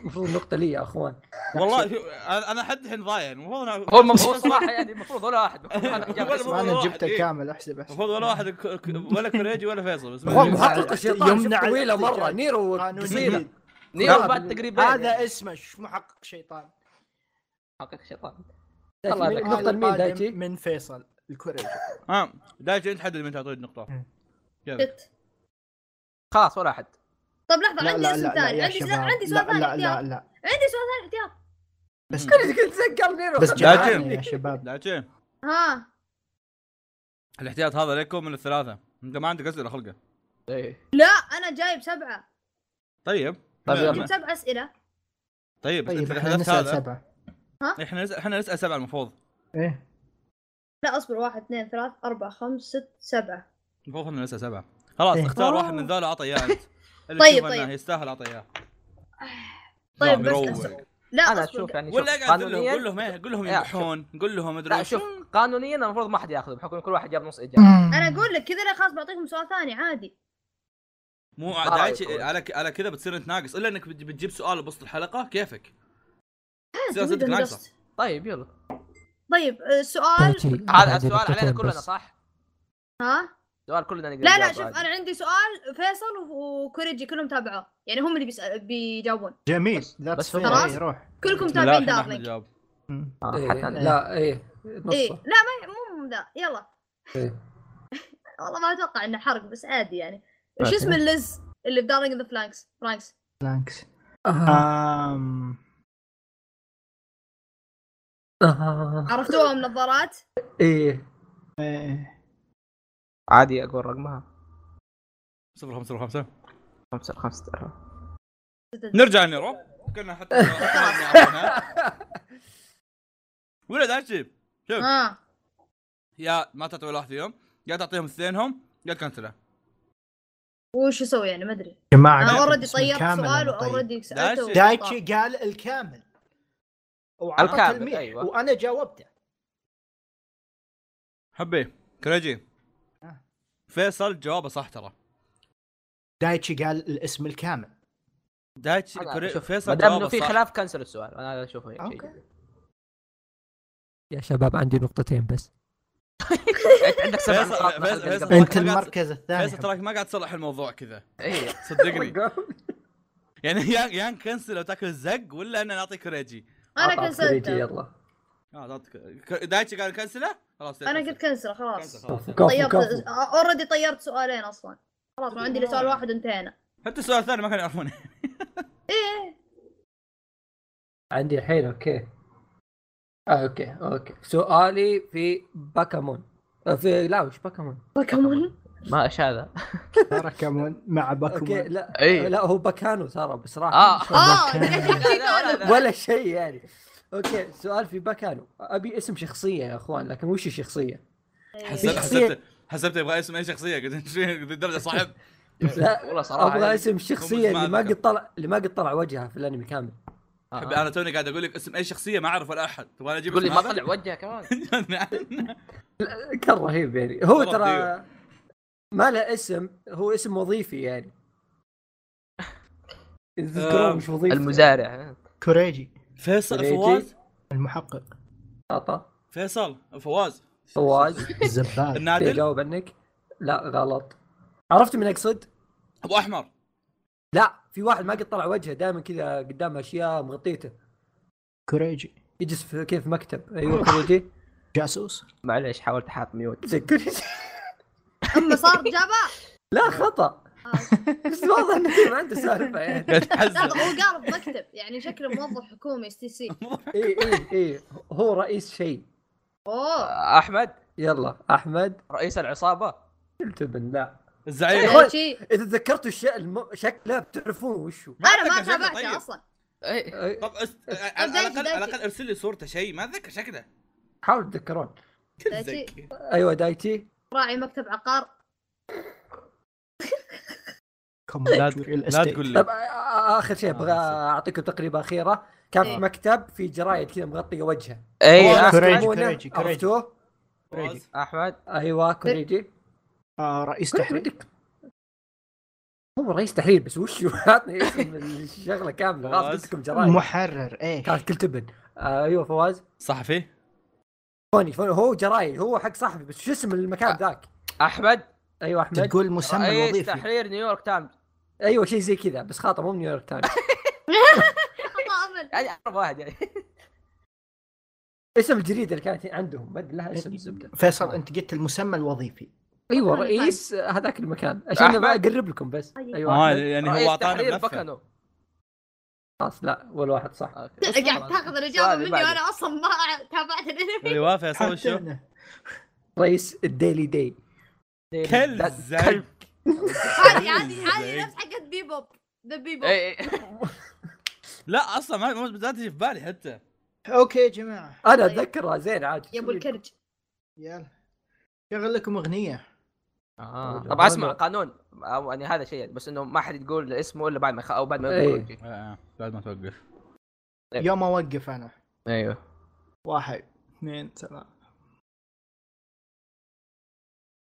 Speaker 3: المفروض نقطه لي يا اخوان
Speaker 2: والله شو- انا أنا حد الحين ضايع المفروض أنا-
Speaker 1: هو المفروض صراحه يعني المفروض ولا واحد المفروض أنا
Speaker 2: ولا
Speaker 1: جاب
Speaker 2: مرة
Speaker 1: اسمه.
Speaker 4: ما انا
Speaker 2: واحد،
Speaker 4: جبته
Speaker 2: إيه.
Speaker 4: كامل احسب احسب
Speaker 2: المفروض ولا واحد ك- ك- ولا كوريجي ولا فيصل بس
Speaker 3: هو
Speaker 4: والله.
Speaker 3: محقق الشيطان
Speaker 4: يمنع
Speaker 3: يمنع طويله
Speaker 4: الاحتجاج.
Speaker 3: مره نيرو
Speaker 4: قانوني.
Speaker 3: قصيره
Speaker 1: نيرو بعد
Speaker 2: إيه،
Speaker 1: تقريبا
Speaker 4: هذا اسمه ش- محقق شيطان
Speaker 1: حقيقة شيطان الله
Speaker 3: دايتشي،
Speaker 1: يهديك.
Speaker 3: مين- نقطه
Speaker 4: هذا
Speaker 3: لمين
Speaker 4: قادم
Speaker 3: دايتشي؟
Speaker 4: من فيصل الكوريجي
Speaker 2: ها دايتشي انت حدد من تعطيه النقطة يلا
Speaker 1: خلاص ولا احد
Speaker 5: طب لحظه عندي اسم ثاني
Speaker 4: يا
Speaker 5: عندي
Speaker 4: شباب.
Speaker 5: سؤال عندي سؤال
Speaker 4: لا لا
Speaker 5: ثاني
Speaker 4: لا
Speaker 5: احتياط
Speaker 4: لا
Speaker 5: عندي سؤال ثاني احتياط
Speaker 4: بس
Speaker 3: كل كنت تذكر نيرو
Speaker 4: بس
Speaker 2: جاهزين.
Speaker 4: جمعنا يا شباب
Speaker 2: دايتشي
Speaker 5: ها
Speaker 2: الاحتياط هذا لكم من الثلاثة انت ما عندك اسئلة خلقه
Speaker 1: ايه
Speaker 5: لا انا جايب سبعه
Speaker 2: طيب
Speaker 1: طيب
Speaker 2: ما-
Speaker 1: يلا.
Speaker 5: جبت سبع اسئله
Speaker 2: طيب
Speaker 4: طيب
Speaker 2: انت
Speaker 4: احنا
Speaker 2: الحدث
Speaker 4: نسأل
Speaker 2: هذا
Speaker 4: سبعة
Speaker 2: احنا نسأل احنا نسأل سبعة المفروض
Speaker 8: إيه.
Speaker 4: ايه
Speaker 5: لا اصبر واحد اثنين ثلاث اربع خمس ست سبعة
Speaker 2: المفروض احنا نسأل سبعة خلاص
Speaker 4: إيه.
Speaker 2: اختار واحد من ذولا اعطيه اياه انت اللي
Speaker 5: طيب،
Speaker 2: تشوفه إنه
Speaker 5: طيب.
Speaker 2: يستاهل اعطيه اياه
Speaker 5: طيب
Speaker 2: لا،
Speaker 5: بس
Speaker 2: مروق.
Speaker 5: أسأل. لا
Speaker 1: انا
Speaker 5: اصبر
Speaker 1: اشوف يعني شوف،
Speaker 2: ولا قاعد تقول لهم قول
Speaker 1: قانونيا
Speaker 2: لهم إيه، قول لهم
Speaker 1: لا،
Speaker 2: يمدحون قول لهم
Speaker 1: لا
Speaker 2: ادري
Speaker 1: شوف
Speaker 2: شو
Speaker 1: قانونيا المفروض ما حد ياخذه بحكم كل واحد جاب نص اجابه
Speaker 5: انا اقول لك كذا انا خلاص بعطيكم سؤال ثاني عادي
Speaker 2: مو
Speaker 1: ما
Speaker 2: دايتشي
Speaker 1: رأيكم؟
Speaker 2: على ك- على كذا بتصير انت ناقص الا انك بت- بتجيب سؤال بوسط الحلقة كيفك
Speaker 5: عادي،
Speaker 2: سياستك
Speaker 5: ودي
Speaker 2: ناقصة.
Speaker 5: هندسة.
Speaker 1: طيب يلا
Speaker 5: طيب آه، السؤال
Speaker 8: دايتشي، أنا
Speaker 1: هذا
Speaker 8: عندي
Speaker 1: السؤال علينا
Speaker 8: نقطتين
Speaker 1: كلنا
Speaker 8: بس.
Speaker 1: صح؟
Speaker 5: ها
Speaker 1: سؤال كلنا نقدر
Speaker 5: لا لا
Speaker 1: نجاوبه
Speaker 5: شوف
Speaker 1: عادي.
Speaker 5: انا عندي سؤال فيصل و- وكوريجي كلهم تابعوه يعني هم اللي بيسأل بيجاوبون
Speaker 4: جميل ذاتس
Speaker 1: بس هو-
Speaker 4: فير
Speaker 5: خلاص.
Speaker 4: إيه، روح
Speaker 5: كلكم
Speaker 2: بسم الله الرحمن
Speaker 5: تابعين
Speaker 2: الرحيم
Speaker 5: دارلينج
Speaker 2: جاوب.
Speaker 4: مم.
Speaker 1: آه، حتى
Speaker 3: إيه،
Speaker 1: أنا.
Speaker 3: لا ايه
Speaker 5: ايه
Speaker 3: نصه
Speaker 5: لا ما مو ذا يلا
Speaker 3: إيه.
Speaker 5: والله ما اتوقع انه حرق بس عادي يعني
Speaker 1: ماشي.
Speaker 5: وش اسم اللز اللي في دارلينج ذا فلانكس فرانكس
Speaker 4: بلانكس
Speaker 3: آه،
Speaker 4: آم،
Speaker 3: آه،
Speaker 5: عرفتوها من نظارات
Speaker 3: ايه
Speaker 4: إيه.
Speaker 1: عادي اقول رقمها
Speaker 2: صفر خمسة صفر خمسة
Speaker 1: 5 5 ترى
Speaker 2: نرجع لنيرو كنا حتى ولا دايتشي
Speaker 5: اه
Speaker 2: يا ما تعطي ولا واحد فيهم يا تعطيهم اثنينهم يا تكنسله
Speaker 5: وش اسوي يعني ما ادري
Speaker 4: جماعة
Speaker 5: انا
Speaker 4: جاوب
Speaker 5: اوريدي
Speaker 4: اسم
Speaker 5: طيرت
Speaker 4: كامل
Speaker 5: سؤال
Speaker 4: أنا طيب.
Speaker 5: واوريدي سالته
Speaker 2: دايتشي-
Speaker 4: دايتشي قال الكامل وعطى
Speaker 1: الكامل،
Speaker 4: تلميح
Speaker 1: أيوة.
Speaker 4: وانا جاوبته
Speaker 2: حبي كريجي
Speaker 4: آه.
Speaker 2: فيصل جوابه صح ترى
Speaker 4: دايتشي قال الاسم الكامل
Speaker 2: دايتشي
Speaker 1: أنا
Speaker 2: كوري...
Speaker 1: أشوف،
Speaker 2: فيصل
Speaker 1: ما دام انه
Speaker 2: جوابه
Speaker 1: في
Speaker 2: صح
Speaker 1: خلاف كنسل السؤال انا اشوفه هيك
Speaker 4: أوكي.
Speaker 1: شيء.
Speaker 8: يا شباب عندي نقطتين بس
Speaker 1: انت عندك سبع
Speaker 2: فيصل-
Speaker 1: نقاط من
Speaker 2: فيصل-
Speaker 1: الحلقة اللي
Speaker 2: فيصل-
Speaker 1: قبل.
Speaker 4: انت
Speaker 2: ما قعد-
Speaker 4: المركز الثاني
Speaker 2: فيصل تراك ما قاعد تصلح الموضوع كذا
Speaker 1: إيه.
Speaker 2: صدقني يعني يا يا نكنسل وتاكل الزق ولا انا نعطي كوريجي
Speaker 5: انا
Speaker 3: عطاء كوريجي،
Speaker 5: كنسلته
Speaker 3: يلا
Speaker 2: اه تعطي ك- دايتشي قال كنسله خلاص
Speaker 5: انا قلت كنسله
Speaker 2: كنسل
Speaker 5: خلاص
Speaker 2: خلاص.
Speaker 3: كفو كفو
Speaker 5: طيرت
Speaker 3: كفو
Speaker 5: اوريدي طيرت سؤالين اصلا خلاص ما عندي الا سؤال واحد إيه، انتهينا
Speaker 2: حتى السؤال الثاني ما كانوا يعرفونه
Speaker 3: عندي الحين اوكي آه اوكي اوكي سؤالي في باكامون آه، في لا مش باكامون
Speaker 5: بوكيمون
Speaker 1: ما ايش هذا؟
Speaker 4: باكمون مع
Speaker 3: اوكي
Speaker 4: باكمون
Speaker 3: لا
Speaker 1: اي
Speaker 3: لا هو باكانو ترى بصراحه
Speaker 1: اه
Speaker 5: اه
Speaker 3: ولا شيء يعني اوكي سؤال في باكانو ابي اسم شخصيه يا اخوان لكن وش الشخصيه؟
Speaker 5: إيه.
Speaker 2: حسبت
Speaker 3: شخصية-
Speaker 2: حسبت حسبت يبغى اسم اي شخصيه قلت إنت شو للدرجه صاحب
Speaker 3: لا
Speaker 1: والله صراحه
Speaker 3: ابغى
Speaker 1: إيه. يعني.
Speaker 3: اسم الشخصيه اللي ما
Speaker 2: أذكر.
Speaker 3: قد طلع اللي ما قد طلع وجهها في الانمي كامل
Speaker 1: آه، آه.
Speaker 2: انا توني قاعد اقول لك اسم اي شخصيه ما اعرف ولا احد تبغى اجيب
Speaker 1: تقول لي
Speaker 2: اسم
Speaker 1: ما
Speaker 2: هذا؟
Speaker 1: طلع وجهه كمان
Speaker 3: كان رهيب يعني هو
Speaker 2: مرة
Speaker 3: ترى ما له اسم هو اسم وظيفي يعني تذكرون
Speaker 2: آم،
Speaker 3: مش وظيفي
Speaker 1: المزارع
Speaker 4: كوريجي
Speaker 2: فيصل
Speaker 3: كوريجي.
Speaker 2: فواز
Speaker 4: المحقق
Speaker 3: عطا
Speaker 2: فيصل فواز
Speaker 3: فواز
Speaker 4: الزبال
Speaker 2: النادل
Speaker 3: يجاوب عنك لا غلط عرفت من اقصد؟
Speaker 2: ابو احمر
Speaker 3: لا في واحد ما قد طلع وجهه دائما كذا قدام اشياء مغطيته
Speaker 4: كوريجي
Speaker 3: يجلس في كيف مكتب ايوه كوريجي
Speaker 4: جاسوس
Speaker 1: معليش حاولت احط ميوت
Speaker 3: زي كوريجي
Speaker 5: اما صار جابه
Speaker 3: لا خطا بس واضح انه كذا ما عنده سالفه يعني
Speaker 2: قاعد
Speaker 5: لا
Speaker 2: تحزن
Speaker 5: هو قارب مكتب يعني شكله موظف حكومي اس تي سي
Speaker 3: اي اي اي إيه، هو رئيس شيء
Speaker 5: اوه
Speaker 1: احمد
Speaker 3: يلا احمد
Speaker 1: آه، رئيس العصابه
Speaker 3: التبن لا
Speaker 2: الزعيم
Speaker 3: إخوان.
Speaker 5: شي.
Speaker 3: اذا تذكرتوا الشيء الم... شكله بتعرفون وش هو
Speaker 5: انا ما
Speaker 2: أتذكر شكله،
Speaker 5: تابعته
Speaker 2: طيب.
Speaker 5: اصلا
Speaker 1: اي
Speaker 3: أي،
Speaker 2: طب أس... على الاقل
Speaker 5: دايتي،
Speaker 2: على
Speaker 5: دايتي.
Speaker 2: الاقل ارسل لي صورته شيء ما اتذكر شكله
Speaker 3: حاولوا تتذكرون
Speaker 2: كل
Speaker 5: دايتي.
Speaker 2: زكي
Speaker 3: ايوه دايتي
Speaker 5: راعي مكتب عقار
Speaker 2: لا
Speaker 4: كومبليت
Speaker 2: تقول لا تقول لي
Speaker 3: طب آ- آ- اخر طيب، شيء ابغى
Speaker 2: آه،
Speaker 3: اعطيكم تقريبه اخيره كان في
Speaker 5: إيه.
Speaker 3: مكتب في جرايد كذا مغطيه وجهه
Speaker 1: اي
Speaker 3: والله
Speaker 4: كوريجي،
Speaker 3: يسمونه،
Speaker 4: كوريجي، طيب، كوريجي.
Speaker 3: عرفتوه
Speaker 2: فواز
Speaker 1: احمد
Speaker 3: ايوه كوريجي
Speaker 4: آه، رئيس
Speaker 3: كوريجي
Speaker 4: تحرير
Speaker 3: بدك هو رئيس تحرير بس وش هو؟ عطني اسم الشغله كامله غلط
Speaker 2: فواز.
Speaker 3: قلت لكم
Speaker 4: طيب.
Speaker 3: جرايد
Speaker 4: محرر إيه. ايش
Speaker 3: كانت كل تبن آه، ايوه فواز
Speaker 2: صحفي
Speaker 3: فوني فوني هو جرايد هو حق صاحبي بس شو اسم المكان ذاك
Speaker 1: احمد
Speaker 3: ايوه احمد
Speaker 4: آه. تقول مسمى
Speaker 1: رئيس
Speaker 4: الوظيفي
Speaker 1: تحرير نيويورك تايمز
Speaker 3: ايوه شيء زي كذا بس خاطر مو من نيويورك تايمز
Speaker 5: طامن
Speaker 1: يعني اعرف واحد يعني
Speaker 3: اسم الجريده اللي كانت عندهم ما ادري لها اسم الزبده
Speaker 4: فيصل انت قلت المسمى الوظيفي
Speaker 3: ايوه
Speaker 5: أحمد.
Speaker 3: رئيس هذاك المكان عشان ما
Speaker 1: أحمد.
Speaker 3: اقرب لكم بس ايوه
Speaker 2: اه
Speaker 3: أحمد.
Speaker 2: يعني
Speaker 1: رئيس
Speaker 2: هو اعطانا
Speaker 1: تحرير
Speaker 2: ملفه
Speaker 1: بكنو آه،
Speaker 3: خلاص لا ولا واحد صح
Speaker 1: أوكي.
Speaker 5: قاعد تاخذ الاجابه
Speaker 1: سؤالي
Speaker 5: مني
Speaker 1: بعده.
Speaker 5: وانا اصلا ما تابعت الانمي
Speaker 2: ايوه فيصل
Speaker 4: حتى
Speaker 2: شو
Speaker 4: أنا.
Speaker 3: رئيس الديلي داي
Speaker 2: كل
Speaker 3: لا،
Speaker 2: زك
Speaker 5: هذه هذه هذه نفس حقت بيبوب ذا بيبوب
Speaker 1: اي
Speaker 2: لا اصلا ما ما ما تجي في بالي حتى
Speaker 4: اوكي يا جماعه
Speaker 3: انا اتذكرها زين عاد
Speaker 5: يا ابو الكرج
Speaker 4: يلا شغل لكم اغنيه
Speaker 1: آه.
Speaker 3: طيب،
Speaker 1: طبعا اسمع
Speaker 3: هذا-
Speaker 1: قانون أو يعني هذا شيء بس انه ما حد يقول اسمه الا بعد ما يخ... او بعد ما
Speaker 3: إيه.
Speaker 1: يقول كل شيء.
Speaker 2: آه، بعد ما توقف
Speaker 1: طيب.
Speaker 4: يوم اوقف انا
Speaker 1: ايوه
Speaker 4: واحد اثنين ثلاثة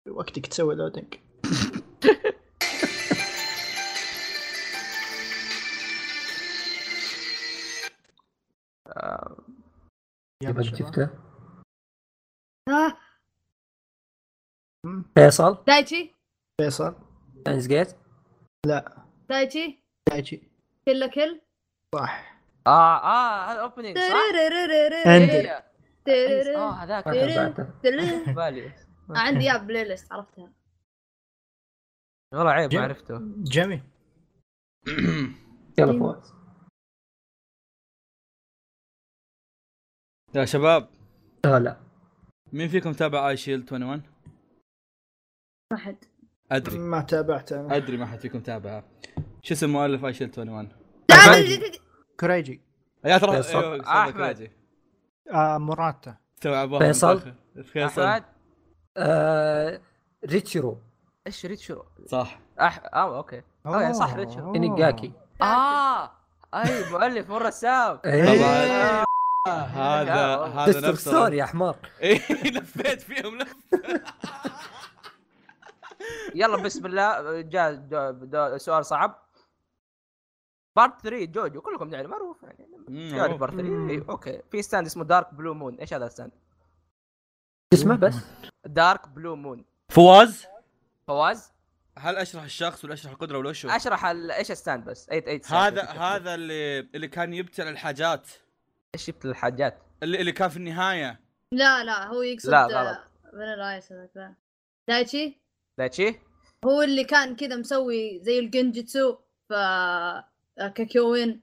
Speaker 4: وقتك تسوي لودنج يلا شباب
Speaker 3: شفته
Speaker 5: آه،
Speaker 3: فيصل
Speaker 5: دايتشي
Speaker 4: فيصل
Speaker 3: ساينس جيت
Speaker 5: دايتشي
Speaker 4: تاجي
Speaker 5: كل كل
Speaker 4: صح
Speaker 1: اه اه هذا اوبننج صح؟
Speaker 4: عندي.
Speaker 1: إيه.
Speaker 5: ترررررررررررررررررررررررررر.
Speaker 1: اه هذاك
Speaker 3: ما كان بعده.
Speaker 5: تررررررررررررررررررررررررررررررررررررررررررررررررررررررررررررررر.
Speaker 1: في بالي
Speaker 5: آه، عندي اياه بلاي ليست عرفتها
Speaker 1: والله عيب ما
Speaker 4: جيم.
Speaker 1: عرفته
Speaker 4: جميل
Speaker 3: يلا فواز
Speaker 2: يا شباب
Speaker 3: لا آه، لا
Speaker 2: مين فيكم تابع اي شيلد 21
Speaker 5: ما حد
Speaker 2: ادري
Speaker 4: ما تابعت انا
Speaker 2: ادري ما حد فيكم تابعها شو اسم مؤلف اي شيلد 21
Speaker 4: كوريجي
Speaker 2: يا ترى
Speaker 3: فيصل.
Speaker 2: أيوة، صدق
Speaker 1: أحمد.
Speaker 2: راجي.
Speaker 4: آه مراتا
Speaker 2: استوعبوها من
Speaker 3: فيصل.
Speaker 2: داخل. فيصل
Speaker 1: احمد
Speaker 3: آه، ريتشيرو
Speaker 1: ايش ريتشرو
Speaker 2: صح
Speaker 1: أح... اه اوكي آه، يا صح،
Speaker 4: أوه.
Speaker 1: ريتشارد.
Speaker 3: انيجاكي
Speaker 1: اه اي مؤلف آه، مو رسام
Speaker 3: ايه
Speaker 2: طبعاً. هذا هذا
Speaker 3: دستر ستور
Speaker 2: نفسه
Speaker 3: يا حمار
Speaker 2: إيه، لفيت فيهم لفه
Speaker 1: يلا بسم الله جاء جاء- جاء سؤال صعب بارت 3 جوجو كلكم يعني معروف يعني تعرف بارت 3 اي اوكي إيه، في ستاند اسمه دارك بلو مون ايش هذا الستاند؟
Speaker 3: اسمه بس
Speaker 1: دارك بلو مون
Speaker 2: فواز
Speaker 1: فواز
Speaker 2: هل اشرح الشخص ولا اشرح القدره ولا شو؟
Speaker 1: اشرح ال- ايش الستاند بس اي اي ستاند
Speaker 2: هذا
Speaker 1: أنت شفته؟
Speaker 2: هذا اللي اللي كان يبتلع الحاجات
Speaker 1: ايش جبت الحاجات؟
Speaker 2: اللي اللي كان في النهايه
Speaker 5: لا لا هو يقصد
Speaker 1: لا، غلط.
Speaker 5: فانيلا ايس هذاك لا. دايتشي
Speaker 1: دايتشي
Speaker 5: هو اللي كان كذا مسوي زي الجنجتسو ف آه، كاكيوين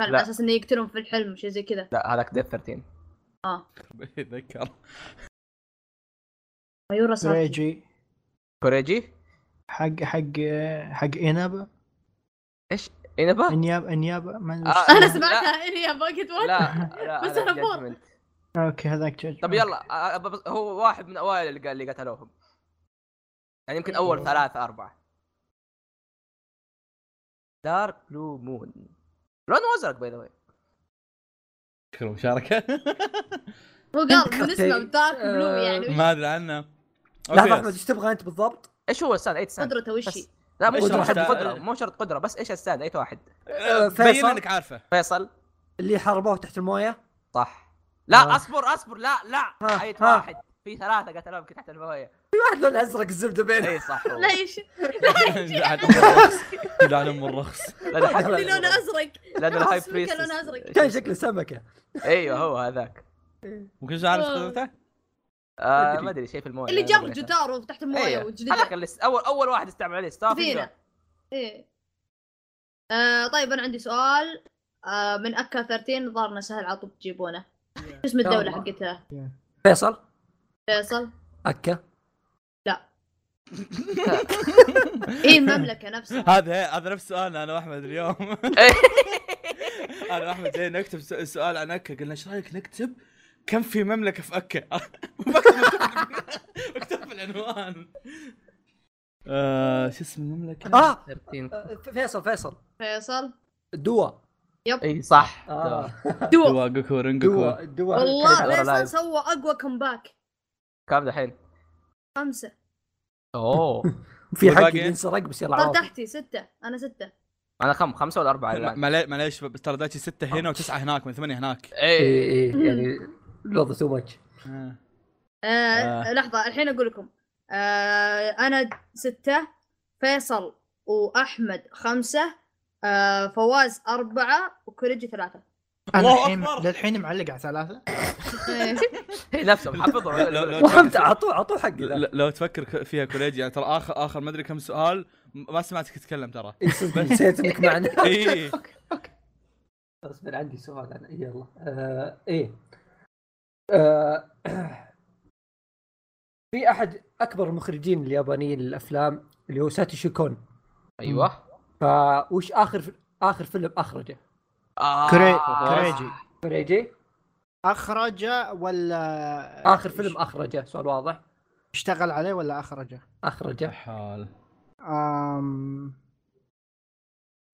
Speaker 5: كان
Speaker 1: لا.
Speaker 5: على اساس انه يقتلهم في الحلم شيء زي كذا
Speaker 1: لا هذاك ديف 13
Speaker 5: اه
Speaker 2: يتذكر
Speaker 5: مايورا ساكي
Speaker 4: كوريجي
Speaker 1: كوريجي
Speaker 4: حق حق حق انابه
Speaker 1: انبا
Speaker 4: انيابه انيابه ما ادري
Speaker 1: آه،
Speaker 4: إيش
Speaker 5: انا
Speaker 1: لا.
Speaker 5: سمعتها اني ابغى قلت
Speaker 1: لا
Speaker 5: وات
Speaker 1: لا
Speaker 5: بس
Speaker 1: هذا
Speaker 5: أنا فوق.
Speaker 1: judgment.
Speaker 4: اسمه. اوكي هذاك جاج
Speaker 1: طب يلا آه، بس هو واحد من اوائل اللي قال اللي قتلوهم يعني يمكن
Speaker 5: أيوه.
Speaker 1: اول ثلاثة اربعة دارك بلو مون لونه ازرق باي ذا واي
Speaker 2: شكرا مشاركه
Speaker 5: هو قال من اسمه دارك بلو
Speaker 3: آه،
Speaker 5: يعني
Speaker 2: ما ادري عنه
Speaker 3: لحظه احمد ايش تبغى انت بالضبط؟
Speaker 1: ايش هو السان؟ اي سان؟
Speaker 5: قدرته وشي
Speaker 1: بس. لا مو
Speaker 2: إيش
Speaker 1: شرط
Speaker 2: واحد؟
Speaker 1: قدرة مو شرط قدرة بس ايش السان؟ اي واحد
Speaker 3: آه،
Speaker 2: بين
Speaker 3: فيصل
Speaker 2: انك أه، عارفه
Speaker 1: فيصل
Speaker 3: اللي حاربوه تحت المويه
Speaker 1: صح لا
Speaker 3: آه.
Speaker 1: اصبر اصبر لا لا
Speaker 3: ها،
Speaker 1: اي
Speaker 3: ها.
Speaker 1: واحد في ثلاثة قتلوهم كي تحت المويه
Speaker 3: واحد لون ازرق الزبده بينه
Speaker 1: اي صح هو.
Speaker 5: لا يش
Speaker 2: لعن ام الرخص لعن ام الرخص
Speaker 1: لأن الحق-
Speaker 3: لا،
Speaker 5: اللي لونه ازرق
Speaker 1: لأن الهاي
Speaker 5: أصبر كان
Speaker 1: بريست
Speaker 5: لونه أزرق.
Speaker 3: كان شكله سمكه
Speaker 1: ايوه هو هذاك
Speaker 2: ممكن شو عارف طيب. قدرته؟
Speaker 1: آه،
Speaker 3: أدري.
Speaker 1: ما ادري شيء في المويه
Speaker 5: اللي
Speaker 1: أنا
Speaker 5: جاب
Speaker 1: قريتها.
Speaker 5: جدار تحت المويه
Speaker 1: أيوه.
Speaker 5: وجديده
Speaker 1: هذاك اللي س- اول اول واحد استعمل عليه ستاف
Speaker 5: زينة.
Speaker 1: يقدر.
Speaker 5: ايه آه طيب انا عندي سؤال آه من اكا 13 ظهرنا سهل على طول تجيبونه شو اسم الدولة
Speaker 3: يلا.
Speaker 5: حقتها؟
Speaker 3: فيصل
Speaker 5: فيصل؟
Speaker 3: اكا
Speaker 5: اي إيه، المملكة نفسها
Speaker 2: هذا هذا نفس سؤالنا انا واحمد اليوم انا واحمد جاي نكتب سؤ- سؤال عن اكا قلنا ايش رايك نكتب كم في مملكه في اكا؟ مكتوب مكتوب في العنوان آه، شو اسم المملكه؟
Speaker 3: اه
Speaker 1: 13.
Speaker 3: آه، فيصل فيصل
Speaker 5: فيصل
Speaker 3: دوا
Speaker 1: اي صح
Speaker 3: آه.
Speaker 5: دو
Speaker 2: دوا جوكو رينجوكو
Speaker 3: دوا دوا
Speaker 5: والله
Speaker 1: كيف؟
Speaker 5: فيصل
Speaker 1: لايف.
Speaker 5: سوى اقوى كمباك
Speaker 1: كم دحين؟
Speaker 5: خمسة
Speaker 1: اوه
Speaker 3: في حق
Speaker 2: والباقي؟
Speaker 3: اللي ينسرق بس يلا
Speaker 5: طب
Speaker 3: عوض
Speaker 5: تحتي ستة انا ستة
Speaker 1: انا كم خمسه ولا اربعه
Speaker 2: ما-
Speaker 1: الان؟
Speaker 2: معلي- معليش بس ترى دايتشي ستة هنا وتسعة هناك من ثمانية هناك
Speaker 1: اي
Speaker 3: اي اي يعني الوضع تو ماتش
Speaker 2: آه.
Speaker 5: آه
Speaker 2: آه.
Speaker 5: لحظة الحين اقول لكم آه انا ستة فيصل واحمد خمسة آه فواز أربعة وكوريجي ثلاثة
Speaker 4: انا
Speaker 2: الله
Speaker 4: الحين
Speaker 2: أكبر.
Speaker 4: للحين معلق على ثلاثه
Speaker 5: إيه.
Speaker 1: هي نفسه محفظه
Speaker 2: لا، لا، لا.
Speaker 3: وهمت اعطوه اعطوه حق
Speaker 2: ل- لو تفكر ك- فيها كوليجي يعني ترى اخر اخر ما ادري كم سؤال م- ما سمعتك تتكلم ترى إيه.
Speaker 3: إي صدق، نسيت انك معنا
Speaker 2: اي
Speaker 3: بس من عندي سؤال انا يلا آه ايه آه في احد اكبر المخرجين اليابانيين للافلام اللي هو ساتوشي كون
Speaker 1: ايوه
Speaker 3: فوش اخر اخر فيلم اخرجه؟
Speaker 1: آه.
Speaker 4: كوري- كوريجي
Speaker 3: فريجي
Speaker 4: اخرجه ولا
Speaker 3: اخر فيلم اخرجه سؤال واضح
Speaker 4: اشتغل عليه ولا اخرجه؟
Speaker 3: اخرجه
Speaker 2: إيه حال
Speaker 4: أم...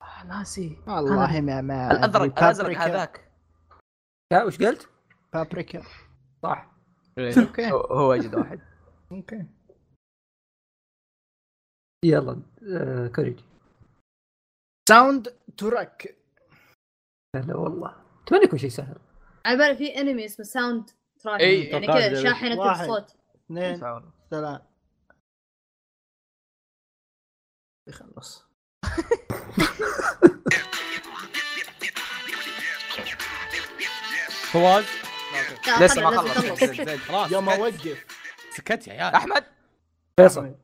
Speaker 1: آه، ناسي
Speaker 4: والله ما ما
Speaker 1: الازرق الازرق
Speaker 4: بابريكا-
Speaker 1: هذاك
Speaker 3: ها وش قلت؟
Speaker 4: بابريكا
Speaker 3: صح
Speaker 4: اوكي
Speaker 1: هو- هو اجد واحد
Speaker 4: اوكي
Speaker 3: يلا آه كوريجي
Speaker 4: ساوند تراك
Speaker 3: هلا والله اتمنى يكون شيء سهل
Speaker 5: على بالي في انمي اسمه ساوند تراك
Speaker 1: إي،
Speaker 5: يعني
Speaker 2: توقعت
Speaker 5: كذا
Speaker 2: زي-
Speaker 5: شاحنة
Speaker 4: واحد.
Speaker 5: الصوت
Speaker 4: اثنين ثلاث يخلص
Speaker 2: فواز
Speaker 5: لا،
Speaker 1: لسه ما
Speaker 5: خلنا- لازم
Speaker 1: خلص.
Speaker 5: نخلص.
Speaker 2: زين زين، خلاص
Speaker 4: يوم
Speaker 2: سكت-
Speaker 4: اوقف
Speaker 2: سكت يا عيال
Speaker 1: احمد
Speaker 3: فيصل